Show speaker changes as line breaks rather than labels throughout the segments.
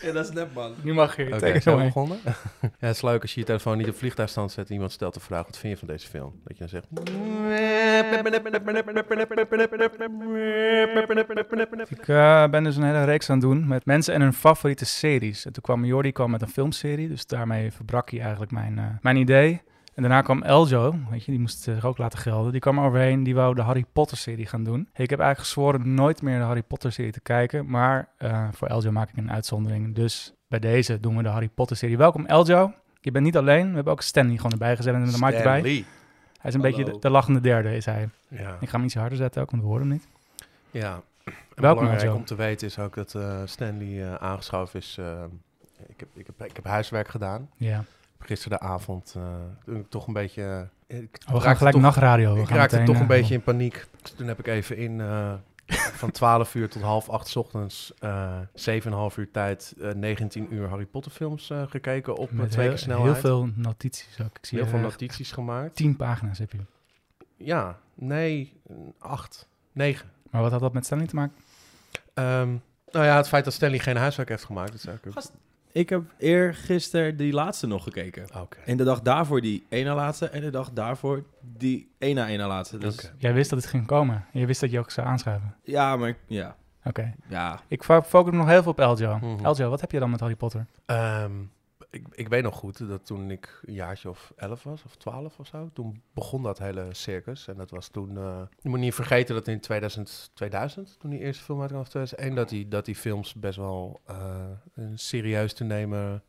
Ja, dat is nep, man.
Nu mag je.
Oké,
Take it
zijn we
away.
begonnen? ja, sluik als je je telefoon niet op vliegtuigstand zet en iemand stelt de vraag, wat vind je van deze film? Dat je dan zegt...
Ik eh, ben dus een hele reeks aan het doen met mensen en hun favoriete series. En toen kwam Jordi kwam met een filmserie, dus daarmee verbrak hij eigenlijk mijn, eh, mijn idee. En daarna kwam Eljo, weet je, die moest zich ook laten gelden. Die kwam er overheen, die wou de Harry Potter-serie gaan doen. Ik heb eigenlijk gezworen nooit meer de Harry Potter-serie te kijken, maar eh, voor Eljo maak ik een uitzondering. Dus bij deze doen we de Harry Potter-serie. Welkom Eljo, je bent niet alleen. We hebben ook Stanley gewoon erbij gezet en de mic erbij. Hij
Stanley.
is een beetje de,
Hallo.
de lachende derde, is hij.
Ja,
Ik ga hem iets harder zetten ook, want we horen hem niet.
ja. En
Welkom,
belangrijk
Joe.
om te weten is ook dat eh, Stanley eh, aangeschoven is. eh, ik, heb, ik, heb, ik heb huiswerk gedaan.
Ja.
Gisteravond eh, toen ik toch een beetje... eh, ik
Oh, we gaan
raakte
gelijk
toch-
nachtradio. We
Ik
gaan
raakte
meteen,
toch een
eh,
beetje in paniek. Dus Toen heb ik even in eh, van 12 uur tot half 8 's ochtends, eh 7,5 uur tijd, eh, 19 uur Harry Potter films eh, gekeken op eh,
Met
twee
heel,
keer snelheid.
Heel veel notities ook. Ik zie
Heel veel
notities.
notities gemaakt.
Tien pagina's heb je.
Ja, nee, 8, 9.
Maar wat had dat met Stanley te maken?
nou ja, het feit dat Stanley geen huiswerk heeft gemaakt, dat is eigenlijk... ook-
Gast, Ik heb eergisteren die laatste nog gekeken.
Ah, Oké.
En de dag daarvoor die ene laatste. En de dag daarvoor die één na één na laatste. Dus,
Oké.
Jij wist dat het ging komen. Je wist dat je ook zou aanschuiven.
Ja, maar ja.
Oké.
Ja.
Ik fo- focus me nog heel veel op Eljo.
Mhm.
Eljo, wat heb je dan met Harry Potter?
Ehm, ik, ik weet nog goed dat toen ik een jaartje of 11 was, of 12 of zo, toen begon dat hele circus. En dat was toen. eh, je moet niet vergeten dat in 2000, 2000 toen die eerste film uitkwam, of 2001, dat die, dat die films best wel eh, een serieus te nemen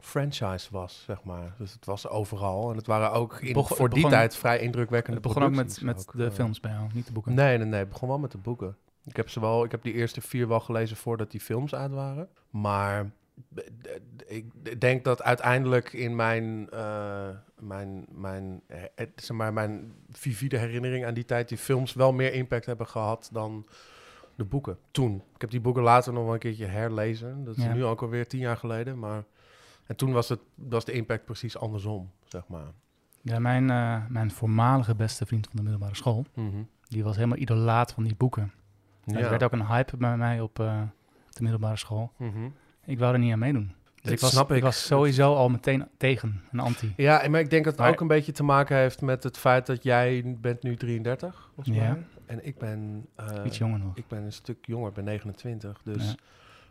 franchise was, zeg maar. Dus het was overal. En het waren ook in,
Begon-
voor
het
die
begon-
tijd vrij indrukwekkende
Het begon ook met,
producties
met
ook,
de
eh.
films bij jou, niet de boeken.
Nee, nee, nee. Het begon wel met de boeken. Ik heb, ze wel, ik heb die eerste vier wel gelezen voordat die films uit waren. Maar d- d- ik denk dat uiteindelijk in mijn, eh, mijn, mijn, eh, het- zeg maar, mijn vivide herinnering aan die tijd... die films wel meer impact hebben gehad dan de boeken toen. Ik heb die boeken later nog wel een keertje herlezen. Dat is
Ja.
nu ook alweer tien jaar geleden. Maar, en toen was, het, was de impact precies andersom, zeg maar.
Ja, mijn, eh, mijn voormalige beste vriend van de middelbare school, die was helemaal idolaat van die boeken. Mhm. Het
Mhm. Ja.
werd ook een hype bij mij op eh, de middelbare school.
Mhm.
Ik wou er niet aan meedoen. Dus
Dat
ik was,
snap ik.
was sowieso al meteen tegen, een anti.
Ja, en maar ik denk dat het
Maar-
ook een beetje te maken heeft met het feit dat jij bent nu 33, volgens
Ja.
mij. En ik ben, eh,
Iets jonger nog.
ik ben een stuk jonger, ik ben 29. Dus
Ja.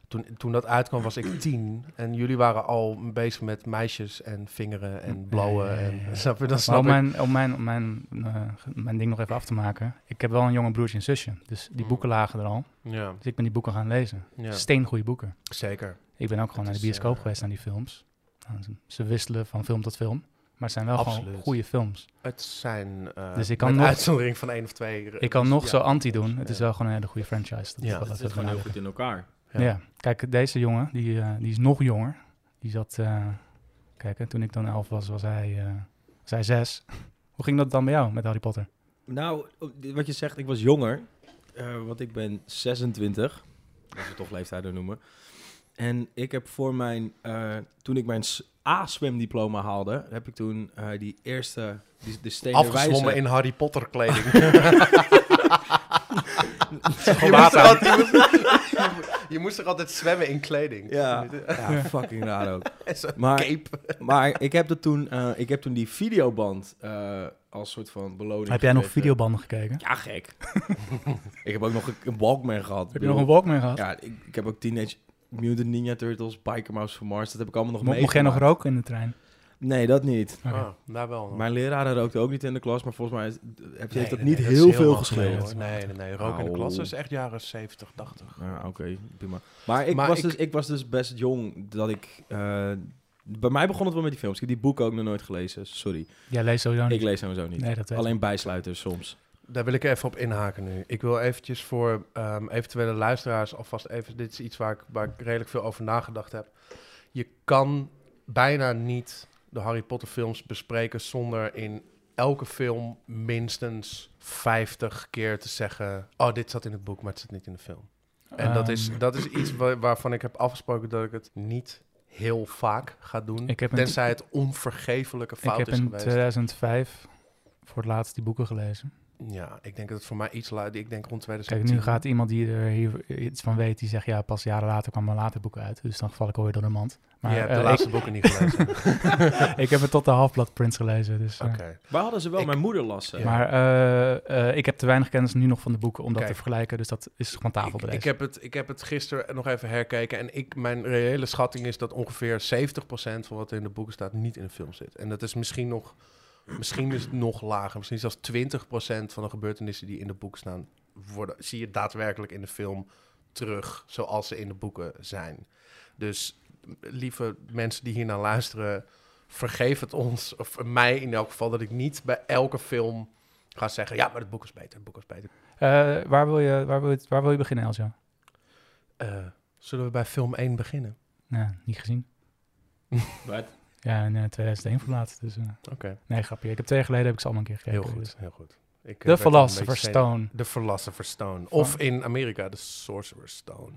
toen, toen dat uitkwam was ik 10. En jullie waren al bezig met meisjes en vingeren en blauwen.
Ja, ja, ja, ja.
En, snap je, dan
Maar
snap
om
ik.
mijn, om mijn, om mijn, eh, ge- mijn ding nog even af te maken. Ik heb wel een jonge broertje en zusje. Dus die
Mm.
boeken lagen er al.
Ja,
Dus ik ben die boeken gaan lezen.
ja.
Steengoede boeken.
zeker.
Ik ben ook gewoon
Het
naar de
is,
bioscoop
eh,
geweest aan die films. Nou, ze- Ze wisselen van film tot film. Maar het zijn wel gewoon
Absoluut.
goede films.
Het zijn, eh
Dus ik kan
met
nog-
uitzondering van één of twee...
Ik kan nog
dus ja,
zo anti doen. Het
ja.
is wel gewoon een hele goede franchise. Dat
Ja.
is wel
Het
even
zit gewoon heel
benadrukken.
goed in elkaar.
Ja.
Ja. kijk, deze jongen, die, eh, die is nog jonger. Die zat, eh, kijk, hè, toen ik dan elf was, was hij, eh, was hij zes. Hoe ging dat dan bij jou met Harry Potter?
Nou, wat je zegt, ik was jonger. eh, want ik ben 26. Als we toch leeftijden noemen. En ik heb voor mijn... eh, toen ik mijn s- A-zwemdiploma haalde, heb ik toen eh, die eerste... Die, de stenen
Afgezwommen
wijze-
in Harry Potter kleding.
Gewoon
Je moest, er
water.
altijd, je, moest, je moest er altijd zwemmen in kleding.
Ja, ja, fucking raar ook.
En zo'n
Maar-
cape.
Maar ik heb, dat toen, eh, ik heb toen die videoband eh, als soort van beloning
Heb jij nog
gekregen.
videobanden gekeken?
Ja, gek. ik heb ook nog een, een Walkman gehad.
Heb je nog een Walkman gehad?
Ja, ik, ik heb ook Teenage Mutant Ninja Turtles, Biker Mouse van Mars. Dat heb ik allemaal nog
Mo- Mocht jij nog
meegemaakt.
roken in de trein?
Nee, dat niet.
Oké.
Ah, daar wel.
Mijn leraren rookten ook niet in de klas, maar volgens mij is- heb je
Nee,
heeft dat
nee,
niet
nee, is
heel veel
helemaal
gescheeld.
geleden, hoor. Nee, nee, nee. Rook in de
Au.
klas is echt jaren 70, 80.
Ja, oké, prima. Maar, ik,
Maar
was
ik-
Dus, ik was dus best jong dat ik... eh, bij mij begon het wel met die films. Ik heb die boeken ook nog nooit gelezen, sorry.
Jij leest sowieso niet.
Ik lees sowieso niet.
nee, dat weet ik.
Alleen bijsluiters soms.
Daar wil ik even op inhaken nu. Ik wil eventjes voor ehm, eventuele luisteraars alvast even... Dit is iets waar ik, waar ik redelijk veel over nagedacht heb. Je kan bijna niet de Harry Potter films bespreken... zonder in elke film minstens 50 keer te zeggen... oh, dit zat in het boek, maar het zit niet in de film. En dat, is,
Ehm,
dat is iets wa- waarvan ik heb afgesproken dat ik het niet heel vaak ga doen.
Ik heb een-
tenzij het onvergeeflijke
ik
fout
heb
is
in
geweest.
2005 voor het laatst die boeken gelezen.
Ja, ik denk dat het voor mij iets later... Ik denk rond
Kijk,
2010.
nu gaat iemand die er hier iets van weet, die zegt ja, pas jaren later kwam mijn later boek uit. Dus dan val ik alweer door de mand. Maar
Je hebt de
eh,
laatste boeken niet gelezen. Oké.
ik, ik heb het tot de halfblad prints gelezen. Dus, eh.
Waar hadden ze wel
Ik-
mijn moeder lassen?
Ja.
Maar eh, eh, ik heb te weinig kennis nu nog van de boeken om dat
Kijk.
te vergelijken. Dus dat is gewoon
Ik,
tafelbedrijf.
ik, heb het, ik heb het gisteren nog even herkeken. En ik, mijn reële schatting is dat ongeveer 70% van wat er in de boeken staat niet in de film zit. En dat is misschien nog, misschien is het nog lager. Misschien zelfs 20% van de gebeurtenissen die in de boeken staan, worden, zie je daadwerkelijk in de film terug zoals ze in de boeken zijn. Dus lieve mensen die hiernaar luisteren, vergeef het ons, of mij in elk geval, dat ik niet bij elke film ga zeggen, ja, maar het boek is beter, het boek is beter.
Eh, waar, wil je, waar, wil je, waar wil je beginnen, Eljo?
Eh, zullen we bij film 1 beginnen?
Nou, niet gezien.
Wat?
Ja, in eh, 2001 verlaat. Dus, eh,
Oké.
nee, grapje. Ik heb twee jaar geleden heb ik ze allemaal een keer gekeken.
Heel
dus.
goed, heel goed. Ik, eh,
De
werd er een
Philosopher's
beetje
Stone.
zenuw- De Philosopher's Stone. Of in Amerika, de Sorcerer's Stone.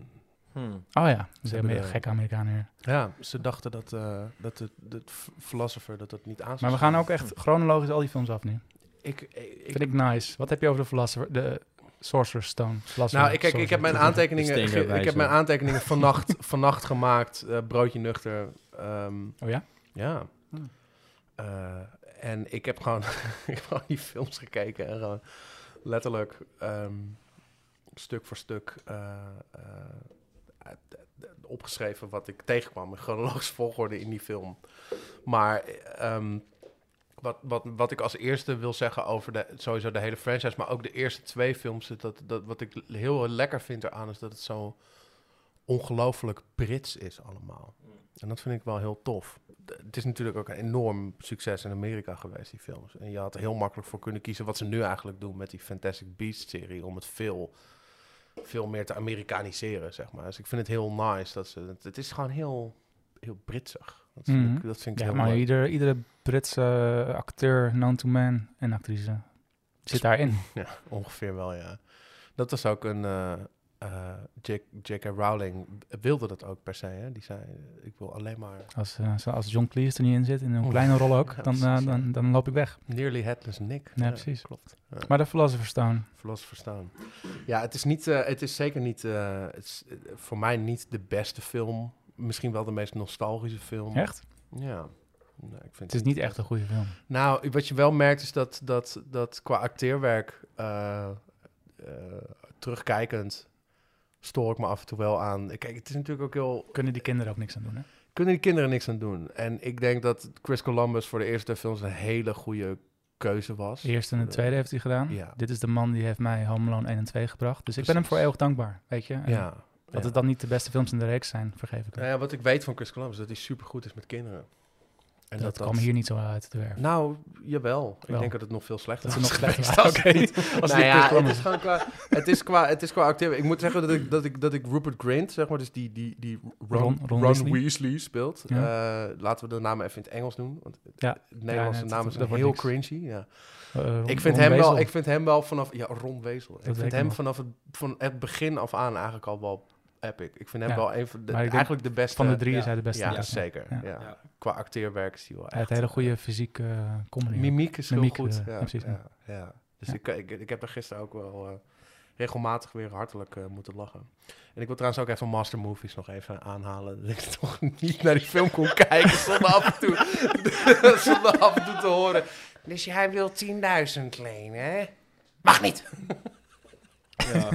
Hmm.
Oh ja, dat is
hebben
een
de-
gekke Amerikanen weer.
Ja, ze dachten dat, eh, dat de, de f- philosopher dat dat niet aan zou
Maar we
slaan.
gaan ook echt chronologisch al die films af nu.
Ik, ik, ik-
Vind ik nice. Wat heb je over de Philosopher, de Sorcerer's Stone? Philosopher,
nou, ik, ik, ik heb
Sorcerer.
mijn aantekeningen,
De
ik,
steenwijzer.
heb mijn aantekeningen vannacht, vannacht gemaakt. eh, broodje nuchter. ehm,
Oh ja?
Ja.
Hmm.
Eh, en ik heb, gewoon, ik heb gewoon die films gekeken en gewoon letterlijk ehm, stuk voor stuk eh, eh, uit- uit- opgeschreven wat ik tegenkwam in chronologische volgorde in die film. Maar ehm, wat, wat, wat ik als eerste wil zeggen over de, sowieso de hele franchise, maar ook de eerste twee films, dat, dat, wat ik heel lekker vind eraan is dat het zo ongelooflijk Brits is allemaal. En dat vind ik wel heel tof. D- Het is natuurlijk ook een enorm succes in Amerika geweest, die films. En je had er heel makkelijk voor kunnen kiezen wat ze nu eigenlijk doen met die Fantastic Beasts-serie. Om het veel, veel meer te Amerikaniseren, zeg maar. Dus ik vind het heel nice. Dat ze, het, het is gewoon heel, heel Britsig. Dat vind,
Mhm.
ik, dat vind ik
Ja,
heel
maar
leuk.
ieder, iedere Britse eh, acteur, known to man en actrice zit daarin.
Ja, ongeveer wel, ja. Dat was ook een... eh, eh, J- J.K. Rowling wilde dat ook per se, hè. Die zei, eh, ik wil alleen maar
Als, eh, zo- als John Cleese er niet in zit, in een
Oeh.
kleine rol ook,
Ja,
dan, eh,
precies, ja.
dan, dan loop ik weg.
nearly headless Nick.
Ja, precies.
Klopt.
Maar de Philosopher's Stone.
Philosopher's Stone. Ja, het is, niet, eh, het is zeker niet, eh, het is, eh, voor mij niet de beste film. Misschien wel de meest nostalgische film.
Echt?
Ja. Nee, ik vind
Het is niet echt een goede film.
Nou, wat je wel merkt is dat, dat, dat qua acteerwerk, eh, eh, terugkijkend, stoor ik me af en toe wel aan. Kijk, het is natuurlijk ook heel
Kunnen die kinderen ook niks aan doen, hè?
kunnen die kinderen niks aan doen. En ik denk dat Chris Columbus voor de eerste twee films een hele goede keuze was.
De eerste en de
Eh,
tweede heeft hij gedaan.
ja.
Dit is de man die heeft mij Home Alone 1 en 2 gebracht. Dus ik ben hem
Precies.
voor eeuwig dankbaar, weet je? En
Ja.
Dat
ja.
het dan niet de beste films in de reeks zijn, vergeef ik hem.
Nou ja, wat ik weet van Chris Columbus is dat hij supergoed is met kinderen. En
dat, kwam hier niet zo uit de werf.
Nou, jawel. Ik
Wel.
denk dat het nog veel slechter
Dat het nog
was
slechter was,
geweest als
oké.
het niet-
Als
nou
dit
ja,
Chris
het
Columbus
is gewoon qua, het is qua, het is qua acteur. Ik moet zeggen dat ik, dat ik, dat ik Rupert Grint, zeg maar, dus die, die, die Ron,
Ron-
Ron,
Ron
Weasley.
Weasley.
speelt. Eh, laten we de namen even in het Engels doen. Want
Ja.
de
Ja,
Nederlandse
nee,
namen
dat-
zijn
dat
heel
wordt
cringy. Ja.
Eh, Ron-
Ik vind,
Ron
hem wel,
Wezel.
ik vind hem wel vanaf... Ja, Ron Wezel. ik
weet
vind
ik
hem
nog.
vanaf het, van het begin af aan eigenlijk al wel epic. Ik vind hem
Ja,
wel een van de,
maar ik denk
eigenlijk de beste...
Van de drie
ja.
is hij de beste.
ja,
acteur.
zeker.
Ja.
Ja.
Ja.
Qua acteerwerk is hij wel
Hij heeft
echt...
hele goede fysieke eh, comedy.
Mimiek is
Mimiek,
heel goed.
eh,
ja,
ja, precies.
ja, ja. Dus
Ja.
Ik, ik, ik heb er gisteren ook wel eh, regelmatig weer hartelijk eh, moeten lachen. En ik wil trouwens ook even Master Movies nog even aanhalen. Dat ik toch niet naar die film kon kijken zonder af en toe, zonder af en toe te horen. Dus jij wil 10.000 lenen, hè? Mag niet!
Ja.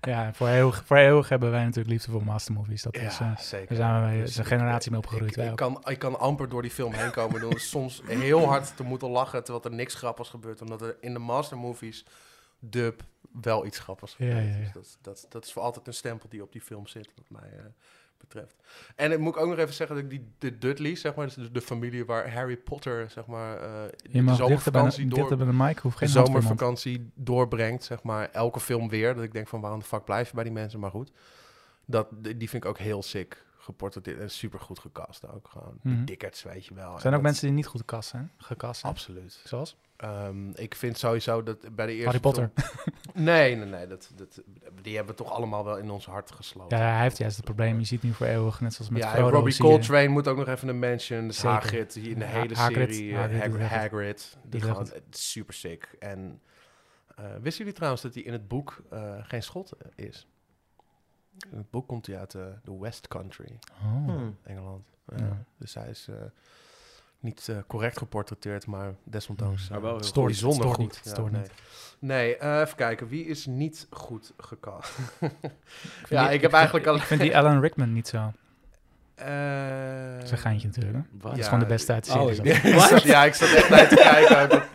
Ja, voor eeuwig, voor eeuwig hebben wij natuurlijk liefde voor mastermovies. Dat is, eh,
zeker. Dus
daar zijn we mee- is een
ik-
generatie mee opgegroeid.
Ik,
wij
ik
ook.
kan, ik kan amper door die film heen komen door soms heel hard te moeten lachen terwijl er niks grappigs gebeurt. Omdat er in de mastermovies dub wel iets grappigs
Ja,
gebeurt.
ja, ja.
Dus dat, dat, dat is voor altijd een stempel die op die film zit, wat mij eh, betreft. En ik moet ook nog even zeggen dat ik die, de Dudleys, zeg maar, dus de, de familie waar Harry Potter, zeg maar, eh,
je mag dichter bij, de, dichter bij de mic, hoef
de
geen hand voor mond.
zomervakantie doorbrengt, zeg maar, elke film weer. Dat ik denk van, waarom de fuck blijf je bij die mensen? Maar goed, dat, die die vind ik ook heel sick geportretteerd en super goed gecast ook. Gewoon
Mhm.
die dikkerts, weet je wel.
Er
En
zijn ook
Oh, dat-
mensen die niet goed gekast zijn. Gekast zijn.
Absoluut.
Zoals?
Ehm, ik vind sowieso dat bij de eerste
Harry Potter.
film- Nee, nee, nee. Dat, dat, die hebben we toch allemaal wel in ons hart gesloten.
Ja, hij heeft juist het probleem. Je ziet nu voor eeuwig, net zoals met
ja, en
Frodo.
Robbie
zie je-
Coltrane moet ook nog even een mention. Dus
Zeker.
Hagrid, hier in de
Ha-
hele
Hagrid, nou,
serie. eh,
Hagrid is
Hagrid.
echt-
Hagrid.
die
Die
is echt
gewoon
goed.
eh, super sick. En Eh, wisten jullie trouwens dat hij in het boek eh, geen schot eh, is? In het boek komt hij uit eh, de West Country,
Oh.
Hmm.
Engeland.
Ja.
Ja, Dus hij is eh, niet eh, correct geportretteerd, maar desondanks
Hmm.
Maar wel heel
eh,
Stoort niet,
bijzonder
stoort
goed.
niet, stoort
nee,
niet.
nee eh, even kijken. Wie is niet goed gecast?
vind
ja,
die-
ik heb
vind-
eigenlijk al...
Ik vind die Alan Rickman niet zo.
Eh,
Dat is een geintje natuurlijk. hè.
Wat?
Dat is
Ja,
gewoon de beste uit de
oh,
serie.
ik
zo.
denk-
Ik zat- ja, ik zat echt naar te kijken. Wat,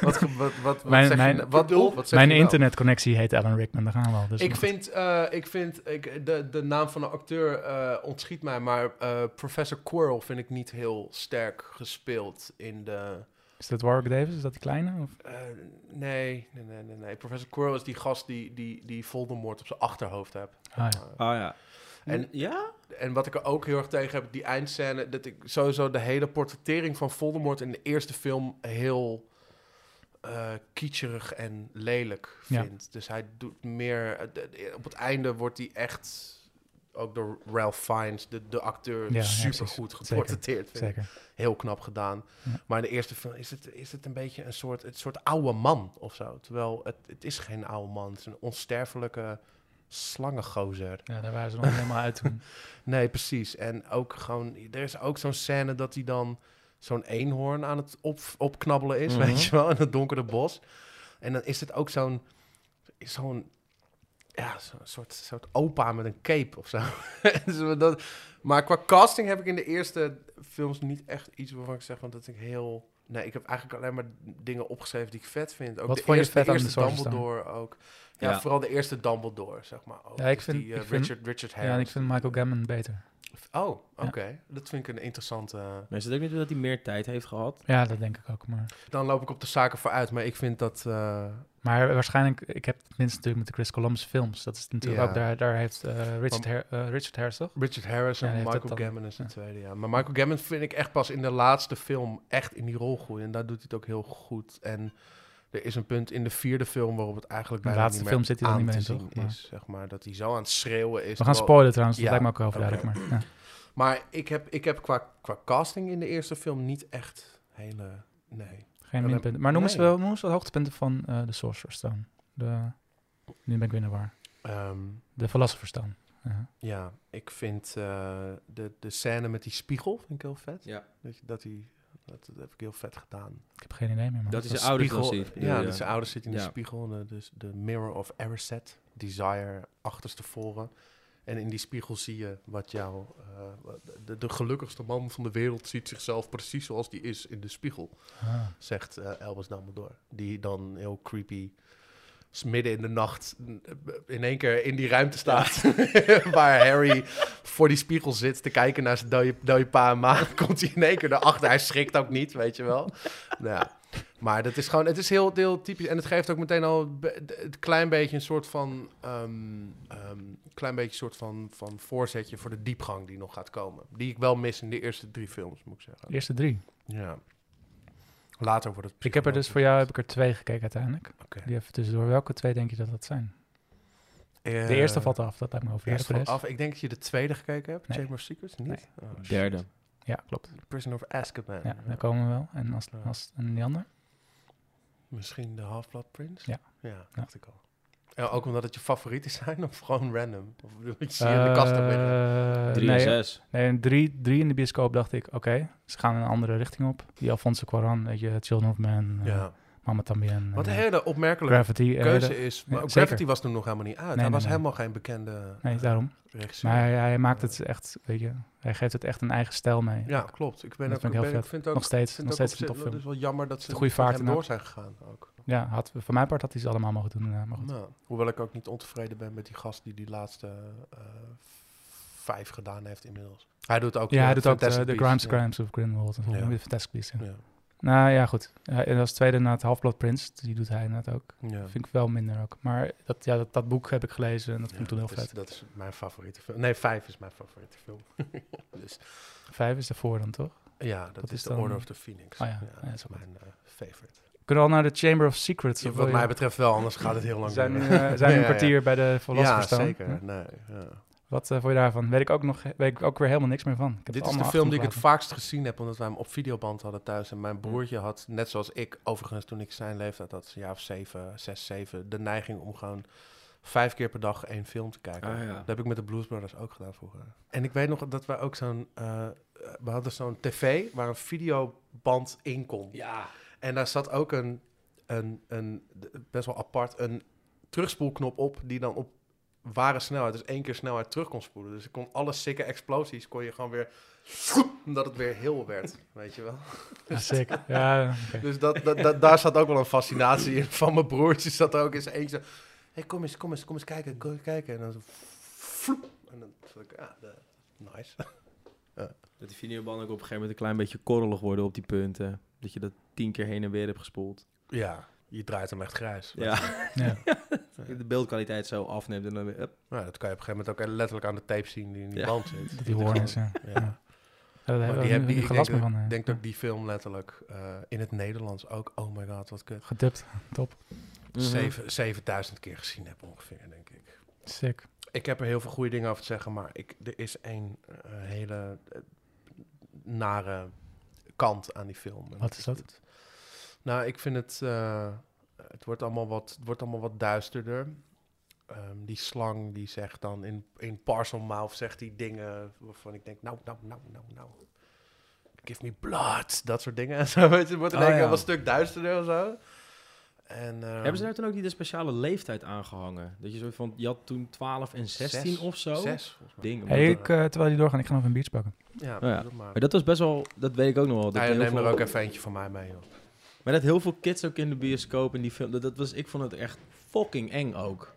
wat, ge- wat, wat, wat
Mijn-
zeg
mijn-
je? Wat, Dolf, wat zeg
Mijn
je nou?
internetconnectie heet Alan Rickman, daar gaan we al. Dus
Ik vind, eh, ik vind ik, de, de naam van de acteur eh, ontschiet mij, maar eh, Professor Quirrell vind ik niet heel sterk gespeeld in de...
Is dat Warwick Davis? Is dat die kleine? Of?
eh, nee, nee, nee, nee, nee. Professor Quirrell is die gast die, die, die Voldemort op zijn achterhoofd hebt.
Ah, ja.
Eh,
Ah ja.
En-
ja?
en wat ik er ook heel erg tegen heb, die eindscène, dat ik sowieso de hele portrettering van Voldemort in de eerste film heel eh, kitscherig en lelijk
Ja.
vind. Dus hij doet meer, eh, de- de- op het einde wordt hij echt, ook door Ralph Fiennes, de, de acteur,
Ja, ja,
super
precies.
goed
Zeker,
geportretteerd. vind ik.
Zeker.
Heel knap gedaan.
Ja.
Maar in de eerste film is het, is het een beetje een soort, een soort oude man of zo. Terwijl het, het is geen oude man, het is een onsterfelijke slangengozer.
Ja, daar waren ze nog niet helemaal uit toen.
Nee, precies. En ook gewoon, er is ook zo'n scène dat hij dan zo'n eenhoorn aan het op, opknabbelen is,
Mhm.
weet je wel, in het donkere bos. En dan is het ook zo'n, is zo'n, ja, zo'n soort, soort opa met een cape of zo. Dus dat, maar qua casting heb ik in de eerste films niet echt iets waarvan ik zeg, want dat ik heel... Nee, ik heb eigenlijk alleen maar dingen opgeschreven die ik vet vind. Ook
Wat
de
vond je
eerste,
vet aan
de
de
eerste
Sorcerer's Stone?
Dumbledore ook. Ja,
Ja.
vooral de eerste Dumbledore, zeg maar. Ook.
Ja, ik
Dus
vind-
die, eh,
ik vind-
Richard, Richard Harris.
Ja, en ik vind Michael Gammon beter.
Oh, oké.
Ja.
Dat vind ik een interessante. eh,
Maar is het ook niet dat hij meer tijd heeft gehad?
Ja, dat denk ik ook. Maar,
Dan loop ik op de zaken vooruit, maar ik vind dat. eh,
maar waarschijnlijk, ik heb het minst natuurlijk met de Chris Columbus films. Dat is natuurlijk
Ja.
ook, daar, daar heeft eh, Richard, Har eh, Richard Harris toch?
Richard Harris en
Ja, heeft
Michael
dat dan-
Gammon is de
ja.
tweede, ja. Maar Michael Gammon vind ik echt pas in de laatste film echt in die rol groeien. En daar doet hij het ook heel goed. En er is een punt in de vierde film waarop het eigenlijk
In de
bijna
laatste film
niet meer
zit hij er
aan
niet meer
te
in,
zien
toch? Maar-
is, zeg maar. Dat hij zo aan het schreeuwen is.
We gaan
terwijl-
spoilen trouwens, dat
Ja,
lijkt me ook overduidelijk. Maar, ja.
Maar ik heb, ik heb qua, qua casting in de eerste film niet echt hele... Nee.
Geen
Ja,
minpunten. Maar noem eens
nee.
wel noem eens wat hoogtepunten van eh de Sorcerer's Stone. De, nu ben ik weer naar waar.
Ehm,
De Philosopher's Stone. Ja.
ja, ik vind eh, de, de scène met die spiegel vind ik heel vet.
Ja.
Dat, je- dat, hij, dat, dat heb ik heel vet gedaan.
Ik heb geen idee meer. Man.
Dat is
Een
zijn ouders dan
spiegel-
ziet, bedoel
Ja,
je?
dat zijn ouders zitten in
Ja.
de spiegel. de- dus de Mirror of Erised. Desire achterstevoren. En in die spiegel zie je wat jou... eh, wat- de, de gelukkigste man van de wereld ziet zichzelf precies zoals die is in de spiegel.
Ah.
Zegt eh Elvis Dumbledore. Die dan heel creepy... s- midden in de nacht n- in één keer in die ruimte staat... waar Harry voor die spiegel zit te kijken naar zijn dode, dode pa en ma. Komt hij in één keer erachter. Hij schrikt ook niet, weet je wel. Nou ja. Maar dat is gewoon, het is heel, heel typisch. En het geeft ook meteen al een be- het klein beetje een soort van, ehm, ehm, klein beetje een soort van, van voorzetje voor de diepgang die nog gaat komen. Die ik wel mis in de eerste drie films, moet ik zeggen.
De eerste drie.
Ja. Later wordt het.
Ik heb er dus voor jou heb ik er twee gekeken uiteindelijk.
Oké.
Die even tussendoor. Welke twee denk je dat dat zijn?
Eh,
de eerste valt af, dat lijkt me
de
over. Ja,
eerste
voor de
valt
rest-
af. Ik denk dat je de tweede gekeken hebt.
Nee.
Chamber of Secrets, niet?
Nee.
Oh, shit.
Derde.
ja klopt.
Prison of Azkaban.
Ja, daar komen we wel. En, als,
Ja.
als, en die ander?
Misschien de Half-Blood Prince?
Ja.
Ja, dacht ik al. En ook omdat het je favorieten zijn of gewoon random? Of bedoel je, zie je in
Eh,
de kast ook liggen?
Drie en
nee,
zes.
nee, een drie, drie in de bioscoop dacht ik, oké, ze gaan een andere richting op. Die Alfonso Cuarón, weet je, Children of Men, eh,
Ja.
Mama Tambien,
Wat een
eh,
hele opmerkelijke
Gravity. eh,
keuze
de-
is.
Ja,
Maar ook
zeker.
Gravity was toen nog helemaal niet uit. hij
nee,
was
nee.
helemaal geen bekende
nee,
eh,
daarom.
regisseur.
Maar hij, hij maakt het echt, weet je, hij geeft het echt een eigen stijl mee.
ja, klopt. Ik ben
Dat
ook,
vind ik heel
ben-
vet.
ik vind ook,
nog steeds,
vind
nog
ook op
steeds een
zich-
topfilm.
Het is wel jammer dat ze
De goede
met
vaart
hem
en
door zijn gegaan ook.
Ja, had, van mijn part had hij ze allemaal mogen doen. eh, maar goed.
Nou, hoewel ik ook niet ontevreden ben met die gast die die laatste eh, vijf gedaan heeft inmiddels. Hij doet ook
ja,
eh,
hij doet ook de,
Fantastic
de
Beasts,
Grimes
ja.
Crimes of Grindelwald. En zo.
Ja.
De Fantastic Beasts, ja.
Ja.
Nou ja, goed. Ja, en als tweede na het Half-Blood Prince, dus die doet hij inderdaad ook.
Ja.
Vind ik wel minder ook. Maar dat, ja, dat, dat boek heb ik gelezen en dat vind ik toen heel
dat is-
vet.
dat is mijn favoriete film. Nee, vijf is mijn favoriete film. dus
Vijf is daarvoor dan, toch?
ja, dat,
Wat
is
is
de
dan-
Order of the Phoenix.
Oh ja, ja,
dat
dat
is
is ook
mijn eh, favorite.
Kunnen we al naar de Chamber of Secrets?
Ja,
of
wat
wil je-
mij betreft wel, anders gaat het heel lang
We zijn,
duren.
nu, eh, zijn nu
Ja,
een
ja,
kwartier bij de
Ja,
Philosopher's Stone.
zeker. Nee, ja.
Wat eh vond je daarvan? Weet ik ook nog, weet ik ook weer helemaal niks meer van. Ik heb
Dit
het
is de
allemaal
film die ik het
achtergelaten.
vaakst gezien heb, omdat wij hem op videoband hadden thuis. En mijn broertje had, net zoals ik, overigens toen ik zijn leeftijd had, een jaar of zeven, zes, zeven, de neiging om gewoon vijf keer per dag één film te kijken.
Ah, ja.
Dat heb ik met de Blues Brothers ook gedaan vroeger. En ik weet nog dat wij ook zo'n, eh, we hadden zo'n tv waar een videoband in kon.
Ja.
En daar zat ook een, een, een best wel apart, een terugspoelknop op die dan op ware snelheid, dus één keer snelheid terug kon spoelen. Dus ik kon alle sikke explosies, kon je gewoon weer, omdat het weer heel werd, weet je wel.
Ja, zeker. Ja, oké.
Dus dat, dat, dat- daar zat ook wel een fascinatie in van mijn broertje, zat er ook eens eentje zo, hey, kom eens, kom eens, kom eens kijken, kom eens kijken. En dan zo, vloep. en dan zat ik, ja, de- nice.
Dat die videoband ook op een gegeven moment een klein beetje korrelig worden op die punten. Dat je dat tien keer heen en weer hebt gespoeld.
Ja, je draait hem echt grijs.
Ja.
ja.
De beeldkwaliteit zo afneemt en dan weer up.
Nou, dat kan je op een gegeven moment ook letterlijk aan de tape zien die in die
Ja.
band zit.
Die hoorns, ja.
Ja.
Ja, daar
Maar
hebben
die
we
heb,
nu
die,
geen
ik
last
denk,
meer
dat,
van. eh,
ik denk dat ik die film letterlijk eh, in het Nederlands ook, oh my god, wat kut,
Gedubt. Top.
Mhm.
Mhm.
zeven 7000 keer gezien heb ongeveer, denk ik.
Sick.
Ik heb er heel veel goede dingen over te zeggen, maar ik, er is één eh, hele eh, nare kant aan die film. En
Wat is dat?
het- nou, ik vind het, eh, het, wordt allemaal wat, het wordt allemaal wat duisterder. Ehm, die slang die zegt dan in, in parcel mouth zegt die dingen waarvan ik denk, nou, nou, nou, nou, nou. Give me blood, dat soort dingen. en Zo, weet je, het wordt in
Oh,
één keer
ja.
wel een stuk duisterder of zo. En, ehm,
Hebben ze daar toen ook niet de speciale leeftijd aangehangen? Dat je zo van, je had toen 12 en 16
Zes.
of zo.
Zes, volgens mij.
Ding.
Hey,
omdat-
ik, eh, terwijl die doorgaan, ik ga nog een biertje pakken.
Ja,
Oh ja.
doe maar.
Maar dat was best wel, dat weet ik ook nog wel. Dat
Nou ja,
heel
neem er
veel-
ook even eentje van mij mee, joh.
Maar dat heel veel kids ook in de bioscoop in die film, dat, dat was, ik vond het echt fucking eng ook.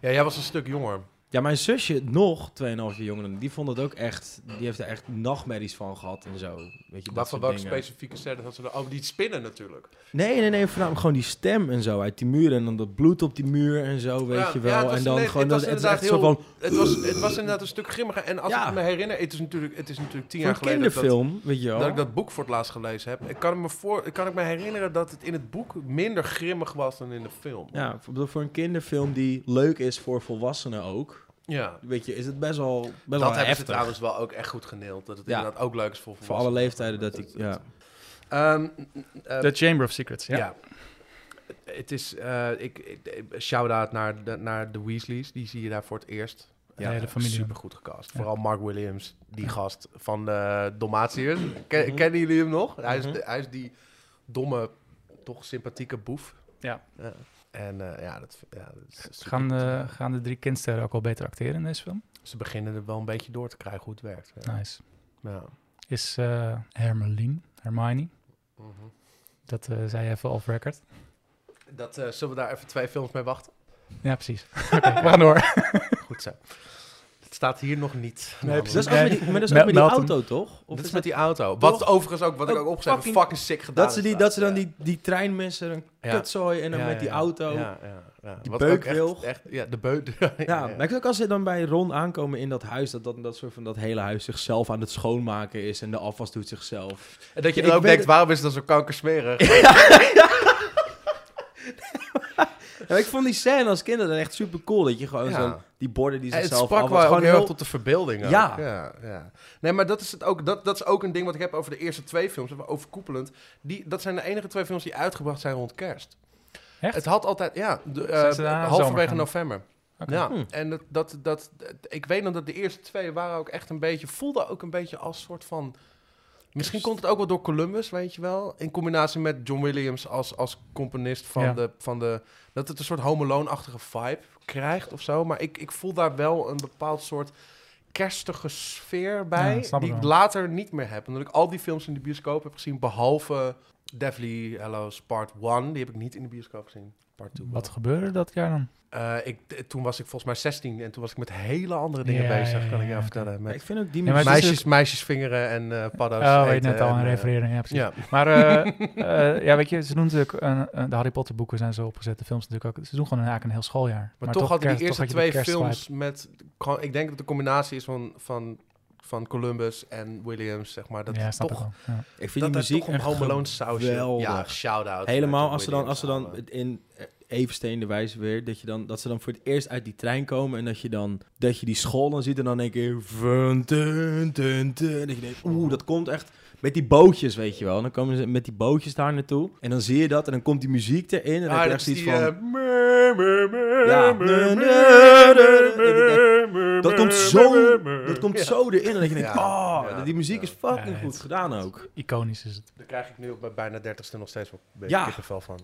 Ja, jij was een stuk jonger.
Ja, mijn zusje, nog 2,5 jaar jonger dan ik, die vond het ook echt, die heeft er echt nachtmerries van gehad en zo. Weet je, dat
Waarvan
soort
welke
dingen.
specifieke scène had ze er? Oh, die spinnen natuurlijk.
Nee, nee, nee, voornamelijk gewoon die stem en zo uit die muur en dan dat bloed op die muur en zo, weet
Ja,
je
ja,
wel.
het was
en dan
net-
gewoon,
het was
dat, het is echt
inderdaad
zo
heel-
van,
Het was, het was inderdaad een stuk grimmiger. En als
Ja.
ik me herinner, het is natuurlijk, het is natuurlijk tien
voor
jaar
een
geleden dat-
kinderfilm, weet je wel.
dat, ik dat boek voor het laatst gelezen heb. Ik kan, me voor, kan ik me herinneren dat het in het boek minder grimmig was dan in de film.
Ja, voor, voor een kinderfilm die leuk is voor volwassenen ook,
Ja.
weet je, is het best wel, best wel
Dat hebben ze
heftig.
trouwens wel ook echt goed geneeld. Dat het
Ja.
inderdaad ook leuk is voor
voor alle
volwassenen.
leeftijden dat ik, ja.
Ehm, eh,
The Chamber of Secrets, ja.
Ja. Het is, eh, ik, ik- shout-out naar de, naar de Weasleys. Die zie je daar voor het eerst.
Ja, de hele familie.
Super goed gecast.
Ja.
Vooral Mark Williams, die gast van de Domatiërs. Ken-
Mhm.
Kennen jullie hem nog? Hij is,
Mhm.
de- hij is die domme, toch sympathieke boef.
Ja.
En eh, ja, dat, vind- ja, dat is super
Dus Gaan, de,
goed.
gaan de drie kindsterren ook al beter acteren in deze film?
Ze beginnen er wel een beetje door te krijgen hoe het werkt. Ja.
Nice.
Ja.
Is eh Hermeline, Hermione,
Mhm.
dat eh zei even off record.
Dat, eh, zullen we daar even twee films mee wachten?
Ja, precies. Oké, we gaan door.
Goed zo. Het staat hier nog niet. Nou,
Nee, precies.
Dat is ook
Nee.
met die, maar dat is
Mel-
ook met die
Melton.
auto, toch? Of
dat
is
is met
dat-
die auto. Wat
Toch?
overigens ook, wat ik
Ook
ook opgeschreven,
fucking-
fucking, sick gedaan
dat ze, die,
is
dat ze dan
Ja.
die, die trein missen, een
Ja.
kutzooi en dan
Ja,
met
ja,
die
ja.
auto. Ja,
Ja, ja, ja.
Die
Wat ook
beukwilg.
Echt, echt, ja, de beuk. Ja, ja, ja.
maar ik vind ook als ze dan bij Ron aankomen in dat huis, dat, dat, dat soort van dat hele huis zichzelf aan het schoonmaken is en de afwas doet zichzelf.
En dat je
Ik
dan ook
weet
denkt,
het-
waarom is dat zo kankersmerig?
Ja, ik vond die scène als kind dan echt super cool, dat je gewoon
Ja.
zo'n, die borden die
Ja, Eh, het
zichzelf
sprak
afwas,
wel ook
gewoon
heel erg
heel...
tot de verbeelding. ook.
Ja.
Ja, ja. Nee, maar dat is, het ook, dat, dat is ook een ding wat ik heb over de eerste twee films, even overkoepelend. Die, dat zijn de enige twee films die uitgebracht zijn rond kerst.
Echt?
Het had altijd, ja, de, eh,
Zijn ze daarna zomer
halverwege
gaan?
november.
Oké. Hmm.
Hm.
Ja, en dat, dat, dat, ik weet nog dat de eerste twee waren ook echt een beetje, voelden ook een beetje als soort van... Misschien komt het ook wel door Columbus, weet je wel. In combinatie met John Williams als, als componist van,
Ja.
de, van de... Dat het een soort Home Alone-achtige vibe krijgt of zo. Maar ik, ik voel daar wel een bepaald soort kerstige sfeer bij.
Ja, snap ik
die ik
wel.
later niet meer heb. Omdat ik al die films in de bioscoop heb gezien, behalve Deathly Hallows Part 1. Die heb ik niet in de bioscoop gezien. Part 2.
Wat gebeurde er dat jaar dan?
Eh, ik, t- toen was ik volgens mij 16 en toen was ik met hele andere dingen
Ja,
bezig,
ja,
kan
ja,
ik jou
oké.
vertellen.
Maar
Met
ik vind ook die
Ja, maar het is
meisjes, meisjesvingeren en eh paddo's.
Oh, weet
eten
net al,
en,
een
eh,
referering, ja precies.
ja.
Maar eh, eh, ja, weet je, ze doen natuurlijk, een- een- de Harry Potter boeken zijn zo opgezet, de films natuurlijk ook. Ze doen gewoon eigenlijk een heel schooljaar.
Maar, toch hadden
kerst-
die eerste
toch had je
twee
de kerstvibe.
films met... kan- Ik denk dat de combinatie is van, van, van Columbus en Williams, zeg maar. Dat
ja,
het
snap
toch,
ik wel. Ja.
ik vind
dat
die
daar
muziek
toch een
echt
Home Alone sausje.
geweldig.
Ja, shout-out.
Helemaal
naar
als ze dan,
Williams
als ze dan
allemaal.
in, Evensteen de wijze weer. Dat, je dan, dat ze dan voor het eerst uit die trein komen. En dat je dan dat je die school dan ziet. En dan denk je. Vun, tun, tun, tun. Dat je denkt, oeh, dat komt echt met die bootjes, weet je wel. En dan komen ze met die bootjes daar naartoe. En dan zie je dat. En dan komt die muziek erin. En
Ah,
dan heb je echt zoiets
eh,
van. Ja. Dat komt zo, dat komt zo erin. En dan denk je,
Ja,
oh,
ja,
die muziek
ja.
is fucking
Ja, het-
goed gedaan ook.
Iconisch is het.
Daar krijg ik nu op mijn bijna dertigste nog steeds wel een beetje
Ja.
kippenvel van. eh.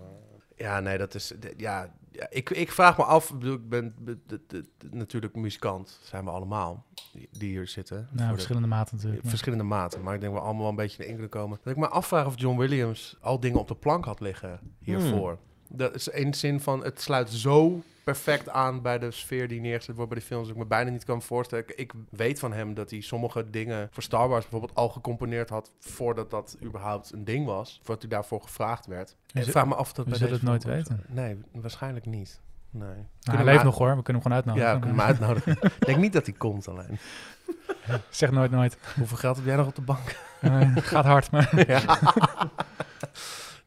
Ja, nee, dat is... d- Ja, ja, ik, ik vraag me af... ik bedoel, Ik ben be- de- de- de- natuurlijk muzikant, zijn we allemaal, die die hier zitten.
Nou,
Voor de-
verschillende maten natuurlijk. maar-
verschillende maten, maar ik denk wel allemaal wel een beetje in de indruk komen. Dat ik me afvraag of John Williams al dingen op de plank had liggen hiervoor.
Hmm.
Dat is één zin van, het sluit zo perfect aan bij de sfeer die neergezet wordt bij de films, dat ik me bijna niet kan voorstellen. Ik, ik weet van hem dat hij sommige dingen voor Star Wars bijvoorbeeld al gecomponeerd had voordat dat überhaupt een ding was, voordat hij daarvoor gevraagd werd. En
zul-
ik vraag me af of dat
we
bij
zullen
deze
het nooit
film ook zo-
weten.
Nee, waarschijnlijk niet. Nee.
Nou,
Kunnen
hij
we
leeft
ma-
nog hoor, Nou, we kunnen hem gewoon
Ja,
uitnodigen.
kunnen we hem uitnodigen. Ik denk niet dat hij komt alleen.
zeg nooit nooit.
Hoeveel geld heb jij nog op de bank?
Eh, gaat hard, maar...
Ja.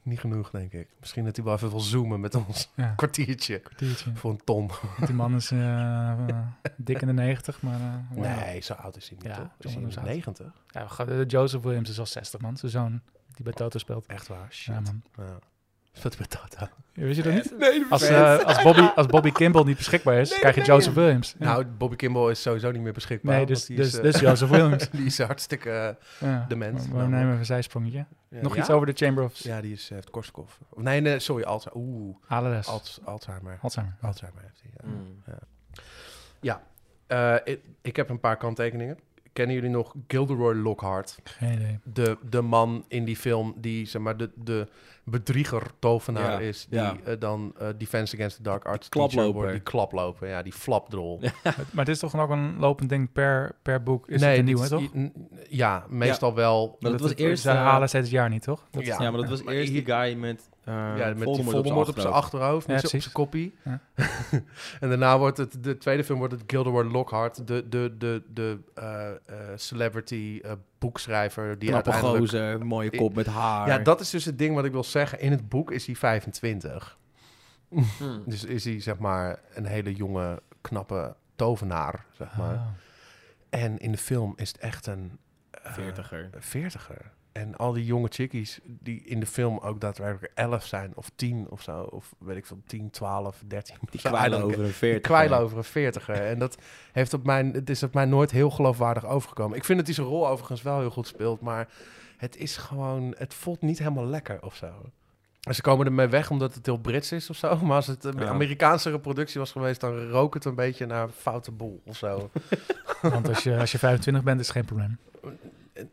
Niet genoeg, denk ik. Misschien dat hij wel even wil zoomen met ons.
Ja,
Kwartiertje
kwartiertje.
voor een ton.
Die man is eh, eh, dik in de negentig, maar... eh, wauw.
Nee, zo oud is hij niet,
Ja,
toch? Is hij
John
in de
is oud.
90?
Ja, we gaan- eh, Joseph Williams is al 60 man, zijn zoon die bij Toto speelt.
Echt waar, Eh, shit.
Ja, man.
Ja. Speelt hij bij Tata?
Ja, Wist je dat niet?
Nee,
Als, eh, als, Bobby, als Bobby Kimball niet beschikbaar is, krijg je Joseph Williams. Ja.
Nou, Bobby Kimball is sowieso niet meer beschikbaar.
nee, dus,
want die
dus,
is, eh,
dus Joseph Williams.
die is hartstikke...
Ja.
De mens,
We, we
namelijk.
nemen even een zijsprongetje.
Ja,
Nog
ja?
iets over de Chamber of
Ja, die is, eh, heeft Korsakoff. Of Nee, nee, sorry, Alzheimer. Oeh,
Alares.
Alz- Alzheimer.
Alzheimer.
Alzheimer heeft hij, ja.
Mm.
Eh, ik, ik heb een paar kanttekeningen. Kennen jullie nog Gilderoy Lockhart?
Geen idee.
de, de man in die film die zeg maar de, de bedrieger tovenaar
Ja,
is die
ja,
eh, dan eh, Defense Against the Dark Arts
klaploper.
teacher wordt, die klaploper, ja, die flapdrol.
Maar dit is toch nog een lopend ding per, per boek? Is het een
dit
nieuw, hè,
is-
toch?
n- Ja, meestal wel.
Maar dat was eerst...
Ze
eh,
herhalen steeds het jaar niet, toch? Dat-
Ja, maar dat was
Maar
eerst
hier-
die guy met, eh
ja, met die
Voldemort
Voldemort op zijn
achterhoofd.
achterhoofd,
Ja,
met zijn- op
precies.
zijn koppie.
Ja.
en daarna wordt het, de tweede film wordt het Gilderoy Lockhart, de, de, de, de eh, eh, celebrity eh, boekschrijver die
Knappe
uiteindelijk
gozer, mooie kop met haar.
Ja, dat is dus het ding wat ik wil zeggen. In het boek is hij 25.
Hmm.
Dus is hij zeg maar een hele jonge, knappe tovenaar, zeg maar.
Ah.
En in de film is het echt een... eh,
Veertiger.
een veertiger. En al die jonge chickies die in de film ook daadwerkelijk 11 zijn of 10 of zo. Of weet ik veel, 10, 12, 13.
Die
Zo, I
kwijlen
don't
over een
ik
veertiger.
kwijl over een veertiger. En dat heeft op mijn, het is op mij nooit heel geloofwaardig overgekomen. Ik vind dat hij zijn rol overigens wel heel goed speelt, maar het is gewoon, het voelt niet helemaal lekker of zo. En ze komen ermee weg omdat het heel Brits is of zo. Maar als het een
Ja.
Amerikaanse productie was geweest, dan rook het een beetje naar foute boel of zo.
Want als je, als je 25 bent, is het geen probleem.
eh,